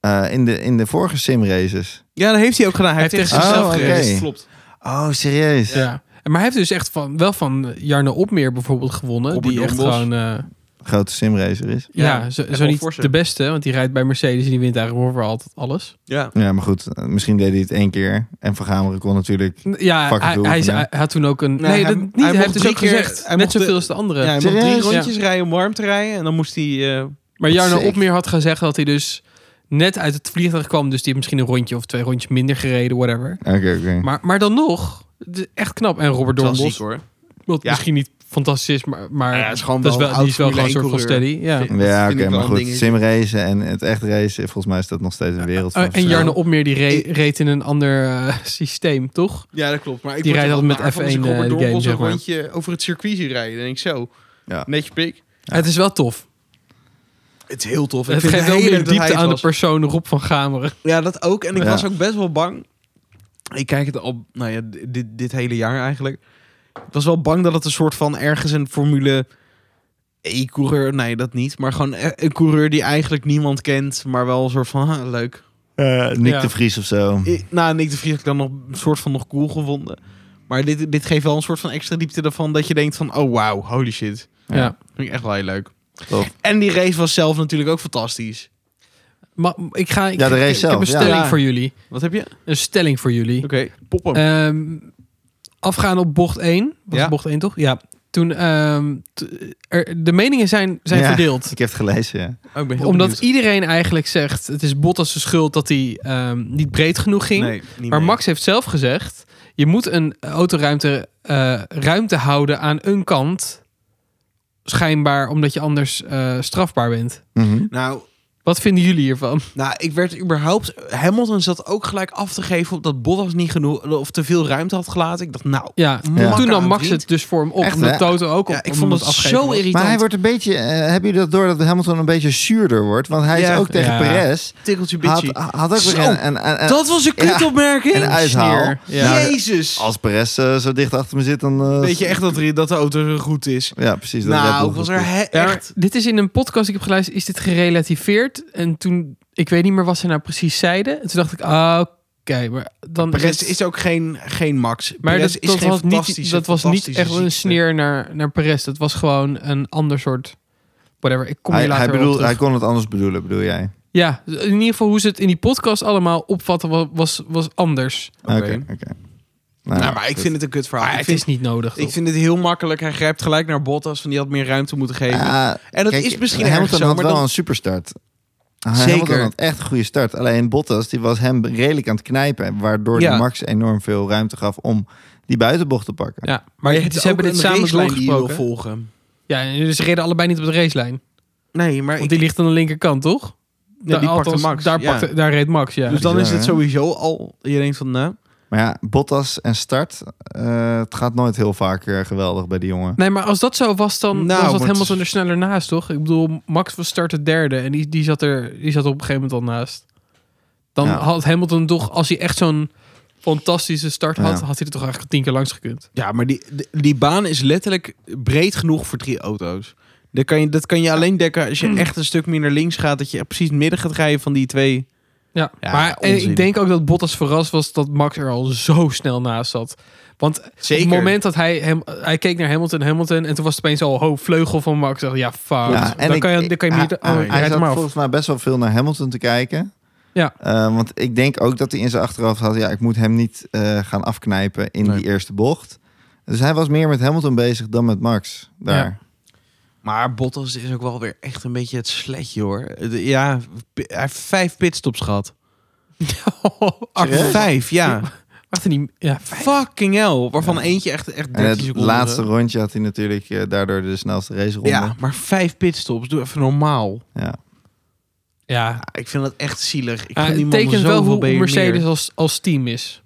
eh, in, de, in de vorige simraces.
Ja, dat heeft hij ook gedaan. Hij,
Hij
heeft
heeft
tegen
tegen
zichzelf
zichzelf
gereden.
gereden.
Klopt.
Oh, serieus?
Ja. Maar hij heeft dus echt van, wel van Jarno Opmeer bijvoorbeeld gewonnen.
Robert
die echt
Dombos.
gewoon... eh,
Grote simracer is.
Ja,
ja, zo,
en
zo
Paul
niet
Forsen.
de beste. Want die rijdt bij Mercedes en die wint eigenlijk over altijd alles.
Ja.
Ja, maar goed. eh, Misschien deed hij het één keer. En Van Gameren kon natuurlijk...
Ja,
Fuck,
hij,
doe
hij,
het
is-
maar.
hij had toen ook een...
Nou,
Nee,
hij-
dat niet.
hij
Hij,
mocht
heeft dus
drie
ook
keer-
gezegd.
hij
net
mocht
zoveel
de-
als de andere.
Ja, hij mocht drie
Serieus?
rondjes rijden om warm te rijden. En dan moest hij... eh,
Maar Jarno
Sick.
Opmeer had gezegd dat hij dus net uit het vliegtuig kwam. Dus die heeft misschien een rondje of twee rondjes minder gereden, whatever.
Oké, oké.
Maar, maar dan nog, het is echt knap. En Robert
het was ziek,
Dombos,
hoor.
wat
Ja.
misschien niet fantastisch is, maar, maar
Ja, het is gewoon
dat
wel
is
een
wel,
oud
die is wel gewoon
Formule
een soort van
1 coureur.
steady. Ja.
Vind- dat
ja,
vind
oké,
ik wel
maar
een
goed.
dingetje.
Simracen en het echt racen. Volgens mij is dat nog steeds een wereld van
Oh, en
verschil.
Jarno Opmeer die re- reed in een ander eh, <laughs> systeem, toch?
Ja, dat klopt. Maar ik
Die
word er
rijden
wel
altijd
naar van als
met
ik
F1,
Robert
eh, de
Doornbos
game,
een
zeg maar.
rondje over het circuit zie rijden. En ik zo,
Ja.
netje pik.
Het is wel tof.
Het is heel tof.
het geeft wel meer diepte aan de persoon Rob van Gameren.
Ja, dat ook. En ik
Ja.
was ook best wel bang. Ik kijk het al, nou ja, d- dit, dit hele jaar eigenlijk. Ik was wel bang dat het een soort van ergens een Formule E-coureur, nee dat niet. Maar gewoon e- een coureur die eigenlijk niemand kent, maar wel een soort van, ha, leuk.
Eh, Nick
Ja.
de Vries of zo.
I- Nou, Nick de Vries heb ik dan nog een soort van nog cool gevonden. Maar dit, dit geeft wel een soort van extra diepte ervan dat je denkt van... Oh, wauw, holy shit.
Ja.
Ja.
Vind ik echt wel heel leuk.
Tof.
En die race was zelf natuurlijk ook fantastisch.
Maar ik ga, ik,
Ja, de race
ik, ik heb
zelf,
een
ja.
stelling
Ja.
voor jullie.
Wat heb je? Oké,
Een stelling voor jullie.
pop hem.
Ehm, afgaan op bocht 1. Was
Ja.
het bocht 1 toch? Ja. Toen, ehm, t- er, de meningen zijn, zijn
Ja.
verdeeld.
Ik heb het gelezen, ja.
Oh, ik ben heel
Omdat
benieuwd.
iedereen eigenlijk zegt... het is Bottas' schuld dat hij ehm, niet breed genoeg ging.
Nee, niet
maar
mee.
Max heeft zelf gezegd... je moet een autoruimte eh, ruimte houden aan een kant... schijnbaar omdat je anders eh, strafbaar bent.
Mhm.
Nou,
Wat vinden jullie hiervan?
Nou, ik werd überhaupt... Hamilton zat ook gelijk af te geven op dat Bottas niet genoeg... of te veel ruimte had gelaten. Ik dacht, nou...
Ja,
Ja.
toen nam Max
Vriend.
het dus voor hem op.
Echt,
omdat
hè?
Toto ook op
Ja, ik
om
vond
het
het
afgeven
zo
was.
irritant.
Maar hij wordt een beetje... eh, hebben jullie dat door dat Hamilton een beetje zuurder wordt? Want hij
Ja.
is ook tegen
Ja.
Perez.
tikkeltje
Had,
bitchy.
had ook weer
Zo,
een, een, een,
dat was een
Ja.
kutopmerking.
een uithaal.
sneer. Ja.
Nou,
Jezus.
als Perez eh, zo dicht achter me zit, dan... eh,
Weet je echt dat, er- dat de auto goed is?
Ja, precies. dat Red
nou,
Bull
ik was
goed
er
is.
he-
Ja, maar
echt...
dit is in een podcast die ik heb geluisterd, is dit gerelativeerd. En toen, ik weet niet meer wat ze nou precies zeiden. En toen dacht ik, ah, oké, maar dan...
Perez is ook geen, geen Max.
maar
Perez
dat,
is
dat
geen
was niet,
fantastische-
dat was niet
fantastische
echt een
ziekte.
sneer naar, naar Perez. Dat was gewoon een ander soort... Whatever, ik kom
Hij,
hier later
hij,
wel op
bedoelt,
terug.
hij kon het anders bedoelen, bedoel jij?
Ja, in ieder geval hoe ze het in die podcast allemaal opvatten wa- was, was anders.
Oké, oké.
Nou, maar ik
goed.
vind het een kut verhaal.
Maar
ik,
het
vind,
is niet nodig.
ik
toch?
vind het heel makkelijk. Hij grijpt gelijk naar Bottas. Van die had meer ruimte moeten geven.
Ja,
en dat
kijk,
is misschien erg
Hamilton
zo.
had
Maar
wel
dan,
een superstart.
Zeker.
Hamilton had echt een goede start. Alleen Bottas die was hem redelijk aan het knijpen. Waardoor
Ja.
die Max enorm veel ruimte gaf om die buitenbocht te pakken.
Ja, maar
je hebt dus
ze hebben
ook
dit
een
samen
racelijn die je wil
doorgesproken.
volgen.
Ja, en ze reden allebei niet op de racelijn.
Nee, maar
Want
ik-
die ligt aan de linkerkant, toch?
die pakte
althans,
Max,
Daar,
ja.
pakte, daar reed Max, ja.
dus dan
bizar,
is het
hè?
sowieso al... Je denkt van, nou...
Maar ja, Bottas en start, eh, het gaat nooit heel vaak eh, geweldig bij die jongen.
Nee, maar als dat zo was, dan, dan
Nou,
zat
maar
Hamilton
het-
er sneller naast, toch? Ik bedoel, Max was start de derde en die, die, zat er, die zat er op een gegeven moment al naast. Dan
Ja.
had Hamilton toch, als hij echt zo'n fantastische start had,
Ja.
had hij er toch eigenlijk tien keer langs gekund.
Ja, maar die, die- die baan is letterlijk breed genoeg voor drie auto's. Dat kan je, dat kan je alleen dekken als je echt een stuk meer naar links gaat. Dat je precies in het midden gaat rijden van die twee.
Ja,
Ja,
maar en
onzin.
ik denk ook dat Bottas verrast was dat Max er al zo snel naast zat. Want
Zeker.
op het moment dat hij, hem, hij keek naar Hamilton, Hamilton... en toen was het opeens al ho, vleugel van Max. Ik dacht, ja, fout.
Ja, en
Ah, dan,
ik-
kan je, dan kan je
hij-
niet... Oh,
hij-
je
Hij
rijdt
zat
hem af.
volgens mij best wel veel naar Hamilton te kijken.
Ja.
Eh, want ik denk ook dat hij in zijn achterhoofd had... ja, ik moet hem niet eh, gaan afknijpen in
Nee.
die eerste bocht. Dus hij was meer met Hamilton bezig dan met Max daar.
Maar Bottas is ook wel weer echt een beetje het sletje hoor. De- ja, pi- hij heeft vijf pitstops gehad.
<laughs> Achter-
Serieus?
Vijf, ja.
Achter die... Ja,
Fucking hell. Waarvan eentje echt, echt 13
En het
seconden.
laatste rondje had hij natuurlijk eh, daardoor de snelste race ronde.
Ja, maar vijf pitstops. Doe even normaal.
ja.
Ja, ik vind dat echt zielig. Ik
Ah,
gun die
het
man
tekent wel
zoveel
hoe
BMW'er.
Mercedes als, als team is.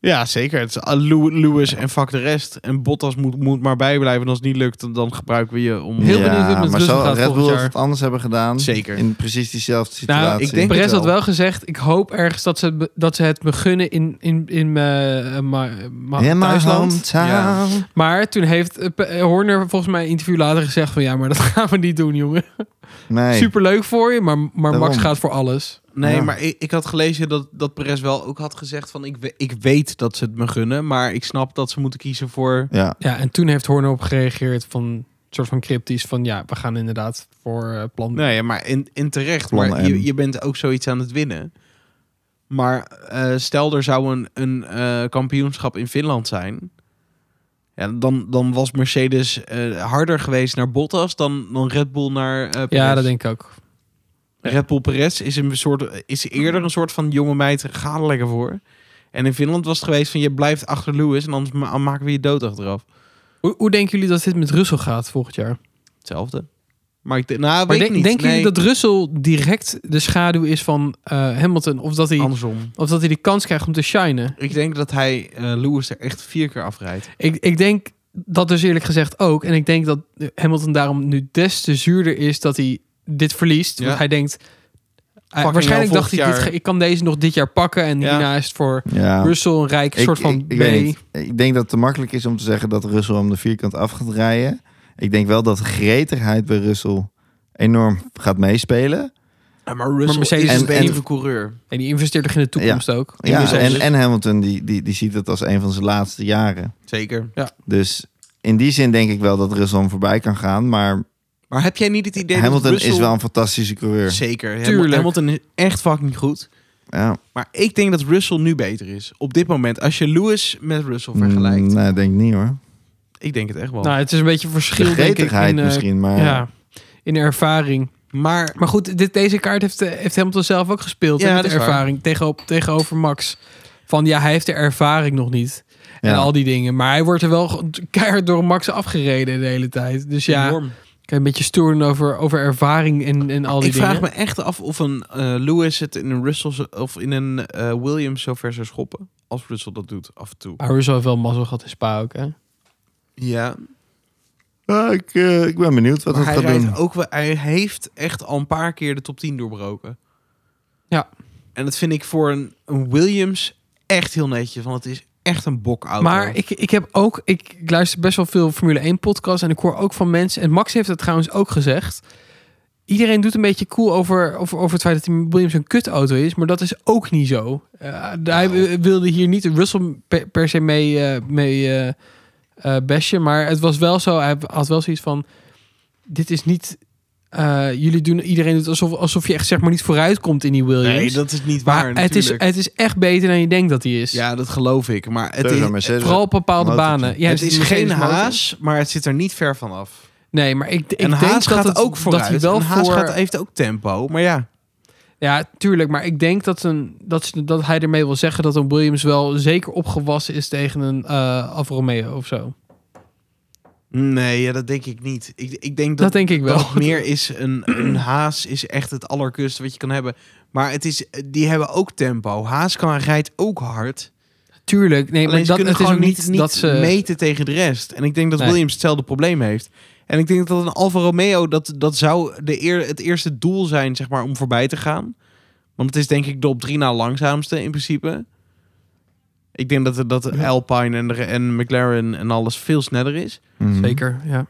Ja, zeker. Het is ah, Lew- Lewis en fuck de rest. En Bottas moet, moet maar bijblijven. En als het niet lukt, dan- dan gebruiken we je om...
Heel benieuwd hoe het met
maar
Russell
zou
gaat
Red
volgend
Bull
jaar.
het anders hebben gedaan.
Zeker.
In precies diezelfde situatie.
Nou,
ik denk
Perez
het
had wel gezegd, ik hoop ergens dat ze, het me- dat ze het me gunnen in, in, in eh, ma- ma-
In my
thuisland.
hometown.
Ja.
Maar toen heeft eh, Pe- eh, Horner volgens mij een interview later gezegd van... ja, maar dat <laughs> gaan we niet doen, jongen.
Nee.
Superleuk voor je, maar, maar Max
Daarom.
gaat voor alles.
Nee,
Ja.
maar ik, ik had gelezen dat, dat Perez wel ook had gezegd van... Ik, we- ik weet dat ze het me gunnen, maar ik snap dat ze moeten kiezen voor...
Ja.
Ja, en toen heeft Horner op gereageerd van... soort van cryptisch van ja, we gaan inderdaad voor eh, plan B.
Nee, ja, maar in, in terecht.
Plan
Maar je,
M.
je bent ook zoiets aan het winnen. Maar eh, stel er zou een, een eh, kampioenschap in Finland zijn... Ja, dan, dan was Mercedes eh, harder geweest naar Bottas dan, dan Red Bull naar eh Perez.
Ja, dat denk ik ook.
Red Bull Perez is, een soort, is eerder een soort van jonge meid, ga er lekker voor. En in Finland was het geweest van, je blijft achter Lewis en anders ma- maken we je dood achteraf.
Hoe, hoe denken jullie dat dit met Russell gaat volgend jaar?
Hetzelfde. Maar ik, de- nou,
Maar
weet ik
denk-
niet.
denken
Nee,
jullie dat Russell direct de schaduw is van eh, Hamilton? Of dat, hij,
Andersom.
of dat hij de kans krijgt om te shinen?
Ik denk dat hij eh, Lewis er echt vier keer afrijdt.
Ik, ik denk dat dus eerlijk gezegd ook. En ik denk dat Hamilton daarom nu des te zuurder is dat hij dit verliest.
Ja.
Want hij denkt... hij-
hell,
waarschijnlijk dacht
volgend
hij, dit
jaar-
ge- ik kan deze nog dit jaar pakken. En
Ja.
hierna is het voor
ja.
Russell een rijk
Ik-
soort van
ik, ik,
B.
weet niet. ik denk dat het te makkelijk is om te zeggen dat Russell om de vierkant af gaat rijden. Ik denk wel dat de gretigheid bij Russell enorm gaat meespelen.
maar Russell
Mercedes
is
is
een
beter.
betere coureur.
En die investeert toch in de toekomst ook.
Ja,
Russell
en,
dus.
en Hamilton die, die, die ziet het als een van zijn laatste jaren.
Zeker.
Dus in die zin denk ik wel dat Russell hem voorbij kan gaan. Maar
Maar heb jij niet het idee
Hamilton
dat Russell...
is wel een fantastische coureur.
Zeker. Ham-
Tuurlijk.
Hamilton is echt fucking goed.
Ja.
Maar ik denk dat Russell nu beter is. Op dit moment. Als je Lewis met Russell vergelijkt.
Mm, Nee, denk ik niet hoor.
Ik denk het echt wel.
Nou, het is een beetje
De
verschil denk ik.
gretigheid
in, eh,
misschien,
Oh.
maar...
ja, in de ervaring.
maar
Maar goed, dit, deze kaart heeft, eh, heeft Hamilton zelf ook gespeeld.
Ja,
Ja, de
dat is waar.
ervaring tegenover, tegenover Max. Van ja, hij heeft de ervaring nog niet. En
Ja.
<laughs> al die dingen. Maar hij wordt er wel ge- keihard door Max afgereden de hele tijd. Dus ja,
enorm.
Kijk, een beetje storen over, over ervaring en, en al die
ik
dingen.
vraag me echt af of een eh, Lewis het in een Russell zo- of in een eh, Williams zo ver zou schoppen. Als Russell dat doet, af en toe.
Maar Russell heeft wel mazzel gehad in Spa ook, hè?
Ja,
Ja, ik, eh, ik ben benieuwd wat
maar
het
hij,
gaat
rijdt
doen.
ook, wel- hij heeft echt al een paar keer de top 10 doorbroken.
Ja.
En dat vind ik voor een, een Williams echt heel netjes. Want het is echt een bokauto.
Maar ik, ik heb ook, ik, ik luister best wel veel Formule 1 podcasts en ik hoor ook van mensen, en Max heeft dat trouwens ook gezegd. Iedereen doet een beetje cool over, over, over het feit dat die Williams een kutauto is, maar dat is ook niet zo. Eh, hij
Nou.
eh, wilde hier niet Russell per, per se mee, eh, mee eh, eh, bashen, maar het was wel zo, hij had wel zoiets van, dit is niet, eh, jullie doen, iedereen doet alsof, alsof je echt zeg maar niet vooruit komt in die Williams.
nee, dat is niet waar.
maar het is,
natuurlijk.
het is echt beter dan je denkt dat hij is.
Ja, dat geloof ik. Maar het
Daar
is,
zou Mercedes-
Vooral op bepaalde
Motortje.
banen. Ja,
Dus het
dus
is
die
geen
Mercedes motor.
haas, maar het zit er niet ver vanaf.
Nee, maar ik, ik
en
denk
haas
dat
gaat
het,
ook vooruit.
Dat hij wel
en haas
voor,
gaat, e- heeft ook tempo. Maar ja,
Ja, tuurlijk. Maar ik denk dat, een, dat, ze- dat hij ermee wil zeggen dat een Williams wel zeker opgewassen is tegen een eh Alfa Romeo of zo.
nee, ja, dat denk ik niet. Ik, ik denk
Dat
dat,
denk ik wel.
dat
<clears throat>
meer is een, een haas is echt het allerkust wat je kan hebben. Maar het is, die hebben ook tempo. Haas kan rijdt ook hard.
Tuurlijk. Nee,
Alleen
maar
ze
dat,
kunnen
het is ook
gewoon
niet dat ze...
meten tegen de rest. En ik denk dat
Nee.
Williams hetzelfde probleem heeft. En ik denk dat een Alfa Romeo, dat, dat zou de eer, het eerste doel zijn, zeg maar, om voorbij te gaan. Want het is denk ik de op drie na langzaamste in principe. Ik denk dat, dat
Ja.
Alpine en, de- en McLaren en alles veel sneller is.
Mhm.
Zeker, ja.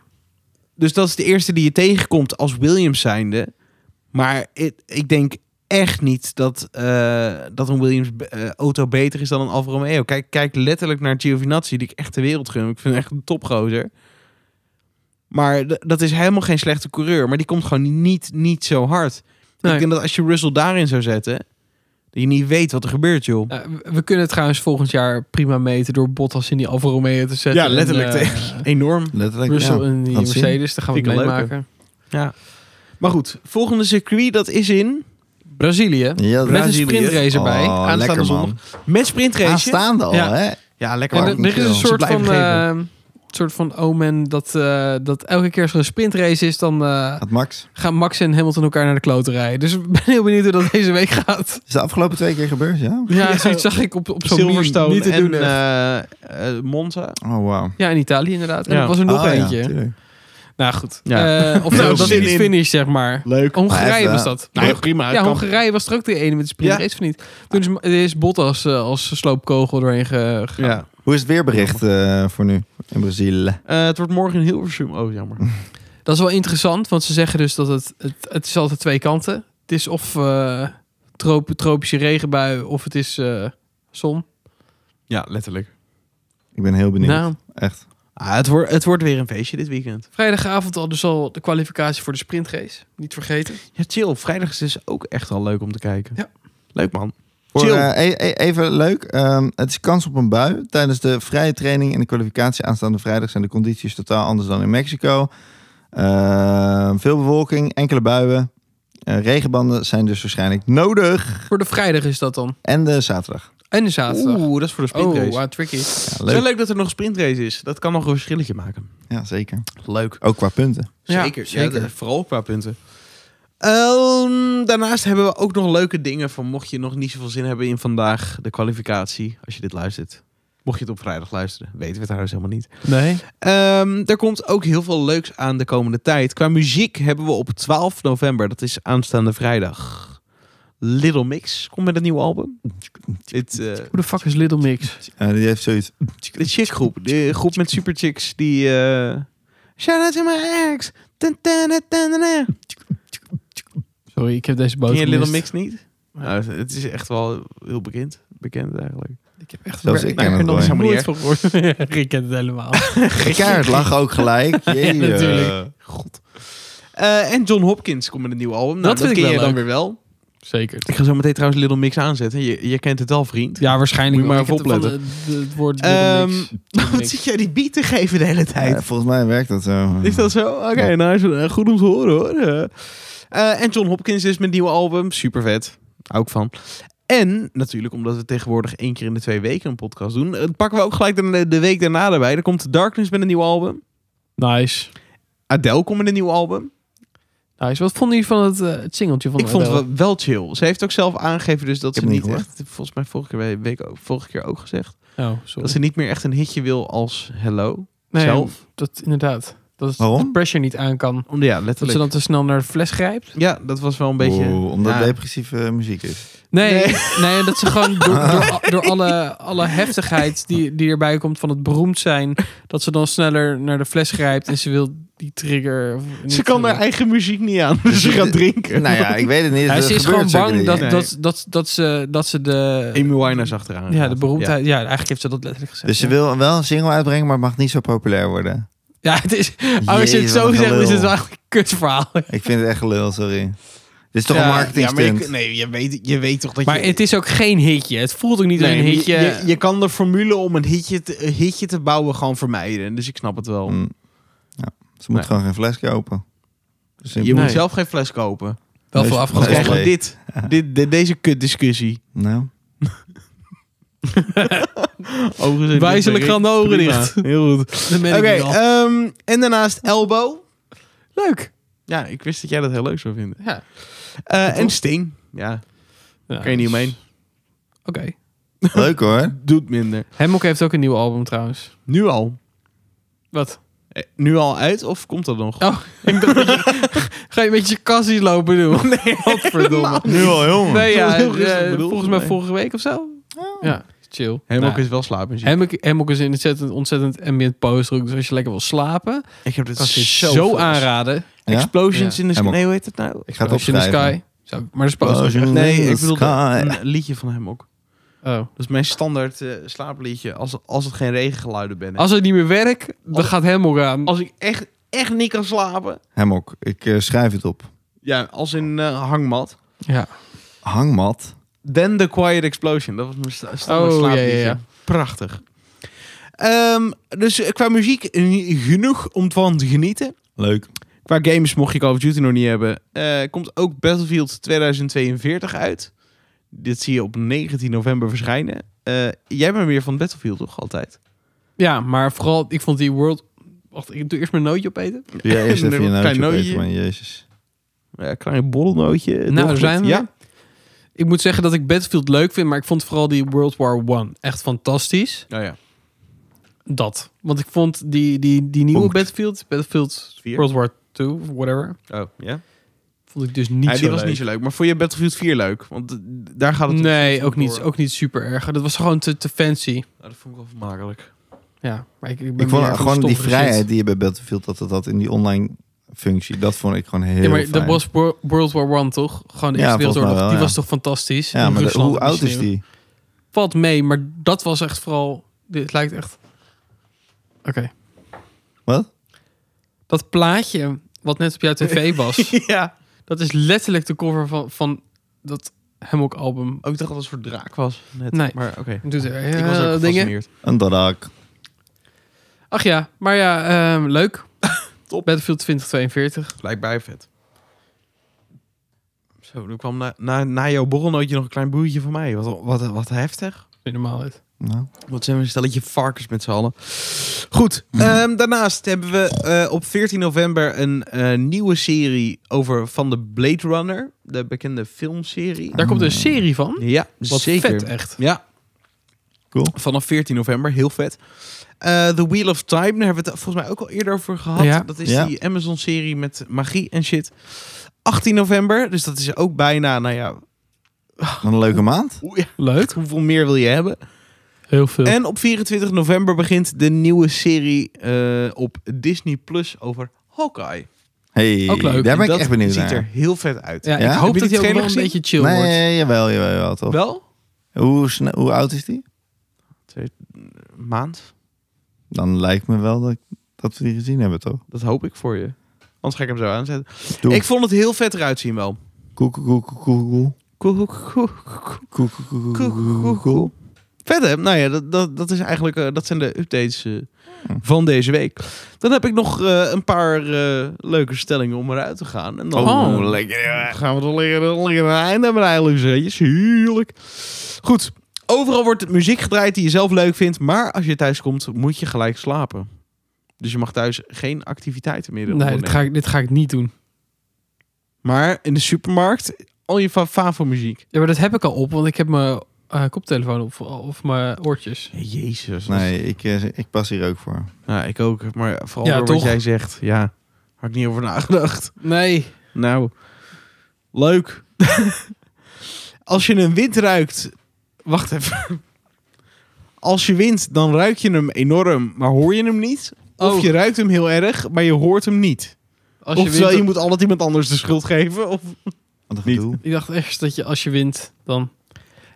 Dus dat is de eerste die je tegenkomt als Williams zijnde. Maar ik, ik denk echt niet dat, eh, dat een Williams eh, auto beter is dan een Alfa Romeo. Kijk, kijk letterlijk naar Giovinazzi, die ik echt de wereld gun. Ik vind hem echt een topgozer. Maar d- dat is helemaal geen slechte coureur. Maar die komt gewoon niet, niet zo hard.
Nee.
Ik denk dat als je Russell daarin zou zetten... dat je niet weet wat er gebeurt, joh.
Eh, we- we kunnen het trouwens volgend jaar prima meten door Bottas in die Alfa Romeo te zetten.
Ja, letterlijk.
En, eh,
<laughs> Enorm.
Letterlijk,
Russell
ja.
in die
laat zien.
Mercedes. Daar gaan we
Vind ik
het
een
meemaken.
Maar goed, volgende circuit, dat is in...
Brazilië.
Ja,
Met een
Brazilië.
sprintrace erbij.
Oh,
Aanstaande
lekker man.
zondag. Met sprintrace.
Aanstaande al,
Ja.
hè?
Ja, lekker
En
man.
Parking
er, er is
trail.
een
Ze
soort
blijven
van,
geven.
eh, soort van omen dat, eh, dat elke keer als er een sprintrace is, dan eh,
Had Max.
gaan Max en Hamilton elkaar naar de klote rijden. Dus <laughs> ik ben heel benieuwd hoe dat deze week gaat.
Is de afgelopen twee keer gebeurd, ja?
Ja,
Ja.
<laughs> zoiets zag ik op, op zo'n meme.
Silverstone
Niet te
en
doen, echt.
eh, eh, Monza.
Oh, wauw.
ja, in Italië inderdaad. En
Ja.
er was er nog
Ah, ja,
eentje.
tuurlijk.
nou goed.
Ja.
Eh, of nou,
Heel
dat
zin
niet
in. eh,
finish, zeg maar.
Leuk.
Maar
Hongarije
even,
was dat.
nou, prima.
ja, Hongarije was er ook de ene met de sprintrace, of niet? Toen is, is Bottas eh, als sloopkogel doorheen ge- gegaan.
Ja.
Hoe is het weerbericht eh, voor nu in Brazilië?
Eh, het wordt morgen in Hilversum. Oh, jammer.
Dat is wel interessant, want ze zeggen dus dat het, het, het is altijd twee kanten. Het is of eh, trop- tropische regenbui of het is eh, zon.
Ja, letterlijk.
Ik ben heel benieuwd.
Nou,
Echt.
Ah, het, wordt, het wordt weer een feestje dit weekend.
vrijdagavond al dus al de kwalificatie voor de sprintrace. Niet vergeten.
Ja, chill. Vrijdag is dus ook echt al leuk om te kijken.
Ja.
Leuk, man.
Voor,
Chill.
eh, e- e- even leuk. ehm, het is kans op een bui. Tijdens de vrije training en de kwalificatie aanstaande vrijdag zijn de condities totaal anders dan in Mexico. Ehm, veel bewolking, enkele buien. Eh, regenbanden zijn dus waarschijnlijk nodig.
Voor de vrijdag is dat dan.
En de zaterdag.
En de zaterdag.
Oeh, dat is voor de
oh,
sprintrace.
ah, tricky.
Ja,
Het is wel
leuk.
leuk dat er nog een sprintrace is. Dat kan nog een verschilletje maken.
Ja, zeker.
Leuk.
Ook qua punten.
Ja,
Zeker. Ja,
zeker.
de- vooral qua punten. Ehm, daarnaast hebben we ook nog leuke dingen van mocht je nog niet zoveel zin hebben in vandaag de kwalificatie, als je dit luistert. Mocht je het op vrijdag luisteren, weten we het trouwens helemaal niet.
Nee.
Ehm, er komt ook heel veel leuks aan de komende tijd. Qua muziek hebben we op 12 november, dat is aanstaande vrijdag, Little Mix komt met een nieuw album. Dit, eh,
Hoe de fuck is Little Mix?
Eh, die heeft zoiets.
de chickgroep, de groep met superchicks die... eh, Shout out to my ex! Dun, dun, dun, dun, dun, dun.
Sorry, ik heb deze boot
Ken je Little
gemist.
Mix niet? Nou, het is echt wel heel bekend. Bekend eigenlijk.
Ik heb echt
Zelfs
ik
ik ken het
heb er nog
wel,
hè.
nooit van gehoord. <laughs> ik ken het helemaal.
Gekaard lag ook
<laughs>
gelijk. Jee,
Ja, natuurlijk.
eh.
God. Eh, en John Hopkins komt met een nieuw album. Nou,
Dat
dat,
vind ik
ken
wel
je dan
leuk.
weer wel.
Zeker.
Ik ga zo meteen trouwens Little Mix aanzetten. Je, je kent het al, <laughs> vriend.
Ja, waarschijnlijk.
Moet je
wel.
maar
Ik heb
even
het van de- de- Het woord Little
Ehm, <laughs>
Mix.
Wat zit jij die beat te geven de hele tijd?
Ja, volgens mij werkt dat zo.
Is dat zo? Oké,
Ja.
nou is het eh, goed om te horen hoor. Eh, eh, en John Hopkins is met nieuw album. Super vet. Hou ik van. En natuurlijk, omdat we tegenwoordig één keer in de twee weken een podcast doen, eh, pakken we ook gelijk de, de week daarna erbij. Er komt Darkness met een nieuw album.
Nice.
Adele komt met een nieuw album.
Nice. Ah, Wat vond je van het, eh, het singeltje van
ik vond het
Adele?
wel, wel chill. Ze heeft ook zelf aangegeven dus dat
Ik
ze
heb het
niet
niet
echt... Volgens mij vorige, keer- week ook, vorige keer ook gezegd.
Oh, sorry.
Dat ze niet meer echt een hitje wil als Hello.
Nee,
zelf.
Dat, inderdaad. Dat is
Waarom?
de pressure niet aan kan.
Om, ja,
Dat ze
letterlijk.
dan te snel naar de fles grijpt?
Ja, dat was wel een beetje...
Oeh, omdat
ja.
depressieve eh,
<laughs>
muziek is.
Nee, nee.
Nee.
dat ze gewoon door, door, door alle, alle heftigheid die, die erbij komt van het beroemd zijn... dat ze dan sneller naar de fles grijpt en ze wil die trigger... of niet eh,
Ze kan
trigger.
haar eigen muziek niet aan,
<laughs>
dus ze gaat drinken.
nou
<laughs>
ja, ik weet <laughs> het niet.
Ja,
Er
ze is gewoon
gebeurt zulke
bang dat,
dingen.
dingen.
dat, dat, dat, ze, dat ze de...
Amy Winehouse achteraan.
Ja, de
gaat.
beroemdheid. Ja. eigenlijk heeft ze dat letterlijk gezegd.
Dus ze
ja.
wil wel een single uitbrengen, maar het mag niet zo populair worden.
Ja, het is... oh, Als je het
Jezus, wat
zo
een
zegt, is het
gelul.
wel echt een kutverhaal.
Ik vind het echt gelul, sorry. Dit is toch
Ja,
een marketing
ja, maar je, kun- nee, je weet, je weet toch dat
Maar
je...
het is ook geen hitje. Het voelt ook niet als
Nee,
een
maar je-
hitje.
Je, je kan de formule om een hitje, te, een hitje te bouwen gewoon vermijden. Dus ik snap het wel.
Mm. Ja, ze moet
Nee.
gewoon geen fles kopen. Dus Simpel.
Je
Nee.
moet zelf geen fles kopen.
Wel
Nee,
veel
Dan
ze- Nee.
afgesproken.
krijg je dit. dit de- deze kutdiscussie.
Nou,
Overigens-
Wijzelijk gaan de ogen
Prima.
dicht.
Heel goed.
Dan
<laughs>
ben
Oké,
ik nu al.
ehm, en daarnaast Elbow.
Leuk.
Ja, ik wist dat jij dat heel leuk zou vinden.
Ja.
Eh, en Sting. Ja,
Ja,
kan je niet omheen.
Oké.
leuk
<laughs>
hoor.
Doet minder.
Hemok heeft ook een nieuw album trouwens.
Nu al. <laughs>
Wat?
Eh, Nu al uit of komt dat nog?
Oh, ik dacht dat je- Ga je een beetje je kassie lopen doen? <laughs> Nee, wat verdomme.
Nu al, jongen.
Nee,
Dat
ja,
was heel rustig
eh,
bedoeld,
volgens mij
nee. Oh.
vorige week of zo. Ja, chill.
Helemaal
Nou,
is wel slapen.
Hemok, Hemok is een ontzettend, ontzettend ambient poster. ook, Dus als je lekker wil slapen,
Ik heb dit
kan ik je
zo,
zo, aanraden.
Ja?
Explosions
Ja.
in the Sky.
Hem ook.
Nee, hoe heet het nou?
Ik ga het
Als je in de
opschrijven. Oh,
sky. Zou ik- maar de poster.
Explosion.
Oh, Nee,
In
ik
the
bedoel
sky.
een liedje van hem ook.
Oh.
Dat is mijn standaard eh, slaapliedje. Als, als het geen regengeluiden ben. Als,
Als het niet meer werkt, dan gaat Hemok aan.
als ik echt, echt niet kan slapen.
Hemok, ik eh, schrijf het op.
Ja, als in eh, hangmat.
Ja.
Hangmat.
Then the Quiet Explosion. Dat was mijn sta- standaard
Oh, ja, ja,
slaapliedje.
ja.
Prachtig. Ehm, dus eh, qua muziek eh, genoeg om van te genieten.
Leuk.
Qua games mocht je Call of Duty nog niet hebben. eh, komt ook Battlefield 2042 uit. Dit zie je op 19 november verschijnen. Eh, jij bent weer van Battlefield toch altijd?
Ja, maar vooral, ik vond die world... Wacht, ik doe eerst mijn nootje opeten.
Ja,
<laughs>
eerst even je
Klein
nootje
nootje.
opeten, man. Jezus.
Ja, Eh, klein borrelnootje.
Nou, daar
doorgelicht.
zijn we.
Ja?
Ik moet zeggen dat ik Battlefield leuk vind, maar ik vond vooral die World War One echt fantastisch.
Nou ja.
Dat. Want ik vond die, die, die nieuwe
Punt.
Battlefield, Battlefield
Vier.
World War 2 of whatever,
Oh, ja?
vond ik dus niet
Ja,
zo
die was
leuk.
niet zo leuk. Maar vond je Battlefield 4 leuk? Want eh, daar gaat het
nee, ook niet,
door.
ook niet super erg. Dat was gewoon te, te fancy.
Nou, dat vond ik wel vermakelijk.
Ja, maar ik, ik, ben
Ik vond
meer van
gewoon die
stoffige
vrijheid
shit.
die je bij Battlefield dat het had in die online functie, dat vond ik gewoon heel
Ja, maar
fijn.
dat was Wor- World War One toch? Gewoon de
Ja,
Eerste
volgens mij
Wereldoorlog.
wel,
die
ja.
was toch fantastisch?
ja,
In
maar de-
Rusland
hoe
en
oud is
sneeuw.
die?
Valt mee, maar dat was echt vooral... Dit lijkt echt... Oké.
Wat?
Dat plaatje wat net op jouw
<laughs>
tv was,
ja.
dat is letterlijk de cover van, van dat Hemok album.
Ook Oh, dacht dat het een soort draak was. Net.
Nee.
Maar oké.
Doet er
Ik was
heel
ook
dingen.
gefascineerd.
Een dadak.
Ach ja, maar ja, ehm, leuk.
<laughs> Top.
Battlefield 2042.
Lijkt bij vet. Zo, er kwam na, na, na jouw borrelnootje nog een klein boertje van mij. Wat, wat, wat heftig.
Vind je normaal uit.
Nou,
Wat zijn we een stelletje varkens met z'n allen. Goed, ehm, daarnaast hebben we eh, op 14 november een eh, nieuwe serie over van de Blade Runner. De bekende filmserie.
Daar komt een serie van.
Ja,
Wat
Mm. zeker.
vet echt.
Ja.
Cool.
Vanaf 14 november, heel vet. Eh The Wheel of Time, daar hebben we het volgens mij ook al eerder over gehad.
Ja.
Dat is
Ja.
die Amazon-serie met magie en shit. 18 november, dus dat is ook bijna, nou ja,
wat een leuke maand.
hoe- ja,
Leuk.
hoeveel meer wil je hebben?
Heel veel.
En op 24 november begint de nieuwe serie eh, op Disney Plus over Hawkeye.
Hey,
Ook leuk.
daar ben ik
dat
echt benieuwd
ziet
naar.
er heel vet uit.
ja,
Ja?
Ik
Heb
hoop
je
dat
die
hij ook wel een
trailer
beetje chill
nee,
wordt.
jawel, jawel, jawel, toch.
Wel?
Hoe, sne- hoe oud is die?
Maand,
Dan lijkt me wel dat, dat we die gezien hebben, toch?
dat hoop ik voor je. Anders ga ik hem zo aanzetten.
Doe.
Ik vond het heel vet eruit zien wel.
Koek, koek, koek, koek, koek,
Koe, koe, koe, koe.
koek, koek, koek,
Koe, koe, koe,
koek,
koe.
koek.
Vet hè? Nou ja, dat, dat, dat, is eigenlijk, eh, dat zijn de updates eh, van deze week. Dan heb ik nog eh, een paar eh, leuke stellingen om eruit te gaan. En dan
Oh,
eh, gaan we er lekker, lekker een einde hebben eigenlijk. Zetjes. Heerlijk. Goed. Overal wordt muziek gedraaid die je zelf leuk vindt. Maar als je thuis komt, moet je gelijk slapen. Dus je mag thuis geen activiteiten meer
Nee, dit
ondernemen.
ga, ik, dit ga ik niet doen.
Maar in de supermarkt, al je fa- favo-muziek.
Ja, maar dat heb ik al op, want ik heb mijn eh, koptelefoon op of mijn oortjes.
Jezus. dat is-
Nee, ik, eh, ik pas hier ook voor.
Nou, ik ook. Maar vooral
Ja,
door
toch?
wat jij zegt. Ja, had ik niet over nagedacht.
Nee.
Nou, leuk. <laughs> Als je een wind ruikt... Wacht even. Als je wint, dan ruik je hem enorm, maar hoor je hem niet. Of
Oh.
je ruikt hem heel erg, maar je hoort hem niet.
Als je
Oftewel,
wint,
je moet altijd iemand anders de schuld geven. Of...
Wat een
Niet.
gedoe.
ik dacht echt dat je als je wint, dan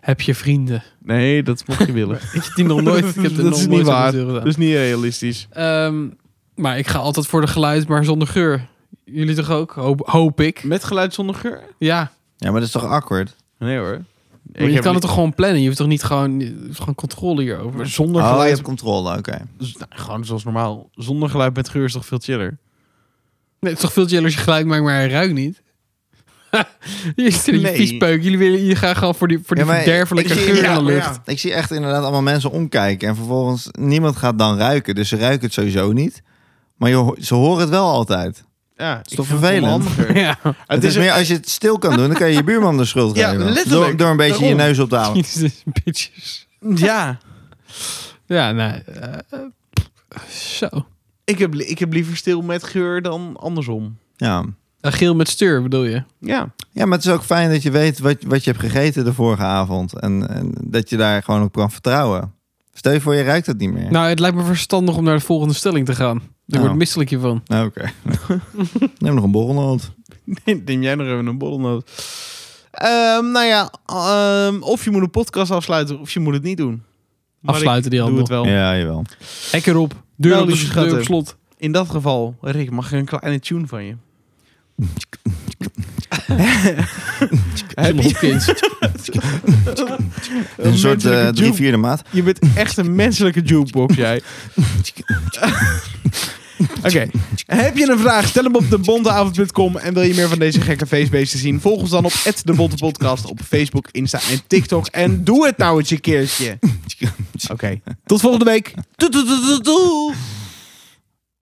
heb je vrienden.
Nee, dat mocht je willen.
<laughs> Ik heb die nog nooit. <laughs> Ik heb
Dat
er nog
is niet
nooit zo'n
waar.
deur gedaan.
<laughs> Dat is niet realistisch.
Dus- Ehm, maar ik ga altijd voor de geluid, maar zonder geur. Jullie toch ook? Hoop, hoop ik.
Met geluid zonder geur?
Ja,
Ja, maar dat is toch awkward?
Nee hoor.
maar je kan het toch gewoon plannen? Je hoeft toch niet gewoon, je hebt gewoon controle hierover?
zonder
Oh, je
geluid.
hebt controle, oké.
z- nou, gewoon zoals normaal. Zonder geluid met geur is toch veel chiller.
Nee, het is toch veel chiller als je geluid maakt, maar hij ruikt niet? <laughs> je zit in je
Nee.
viespeuk. Jullie, willen, jullie gaan gewoon voor die, voor die
Ja,
<laughs>
maar
verderfelijke
ik zie-
geur in
ja,
de
maar
lucht.
ja. Ik zie echt inderdaad allemaal mensen omkijken. En vervolgens, niemand gaat dan ruiken. Dus ze ruiken het sowieso niet. Maar je, ho- ze horen het wel altijd. Het,
Ja, is
toch vervelend?
<laughs> Ja,
<laughs> Het
is,
is
meer, als je het stil kan doen, dan kan je je buurman de
<laughs>
schuld
Ja,
geven.
letterlijk.
Door, door een beetje je
Daarom.
neus op
<laughs>
te houden.
Jezus, bitches.
Ja,
Ja, nee. eh, eh, zo.
ik heb, li- ik heb liever stil met geur dan andersom.
Ja.
Een Eh, geel met stuur bedoel je?
Ja,
ja, maar het is ook fijn dat je weet wat, wat je hebt gegeten de vorige avond. En, en dat je daar gewoon op kan vertrouwen. Stel je voor, je ruikt het niet meer.
Nou, het lijkt me verstandig om naar de volgende stelling te gaan. Ik
Nou.
word misselijk hiervan.
Nou, oké. <laughs> Neem nog een borrelnoot.
<laughs> neem jij nog even een borrelnoot. Ehm, nou ja, ehm, of je moet een podcast afsluiten of je moet het niet doen. Maar
Afsluiten die
ik doe
handel.
het wel.
Ja, jawel.
Hek erop. Deur,
Nou,
op,
dus
de-
je gaat
deur op
hem.
slot.
In dat geval, Rick, mag ik een kleine tune van je? Heb <laughs>
Zonder hoekjes.
Een soort eh
menselijke
drie
juke-
vierde maat.
Je bent echt een menselijke jukebox, jij. Oké. Heb je een vraag? Stel hem op debonteavond.com. En wil je meer van deze gekke feestbeesten zien? Volg ons dan op @debontepodcast op Facebook, Insta en TikTok. En doe het nou eens een keertje. Oké. Tot volgende week. Doei, doei, doei, doei, doei.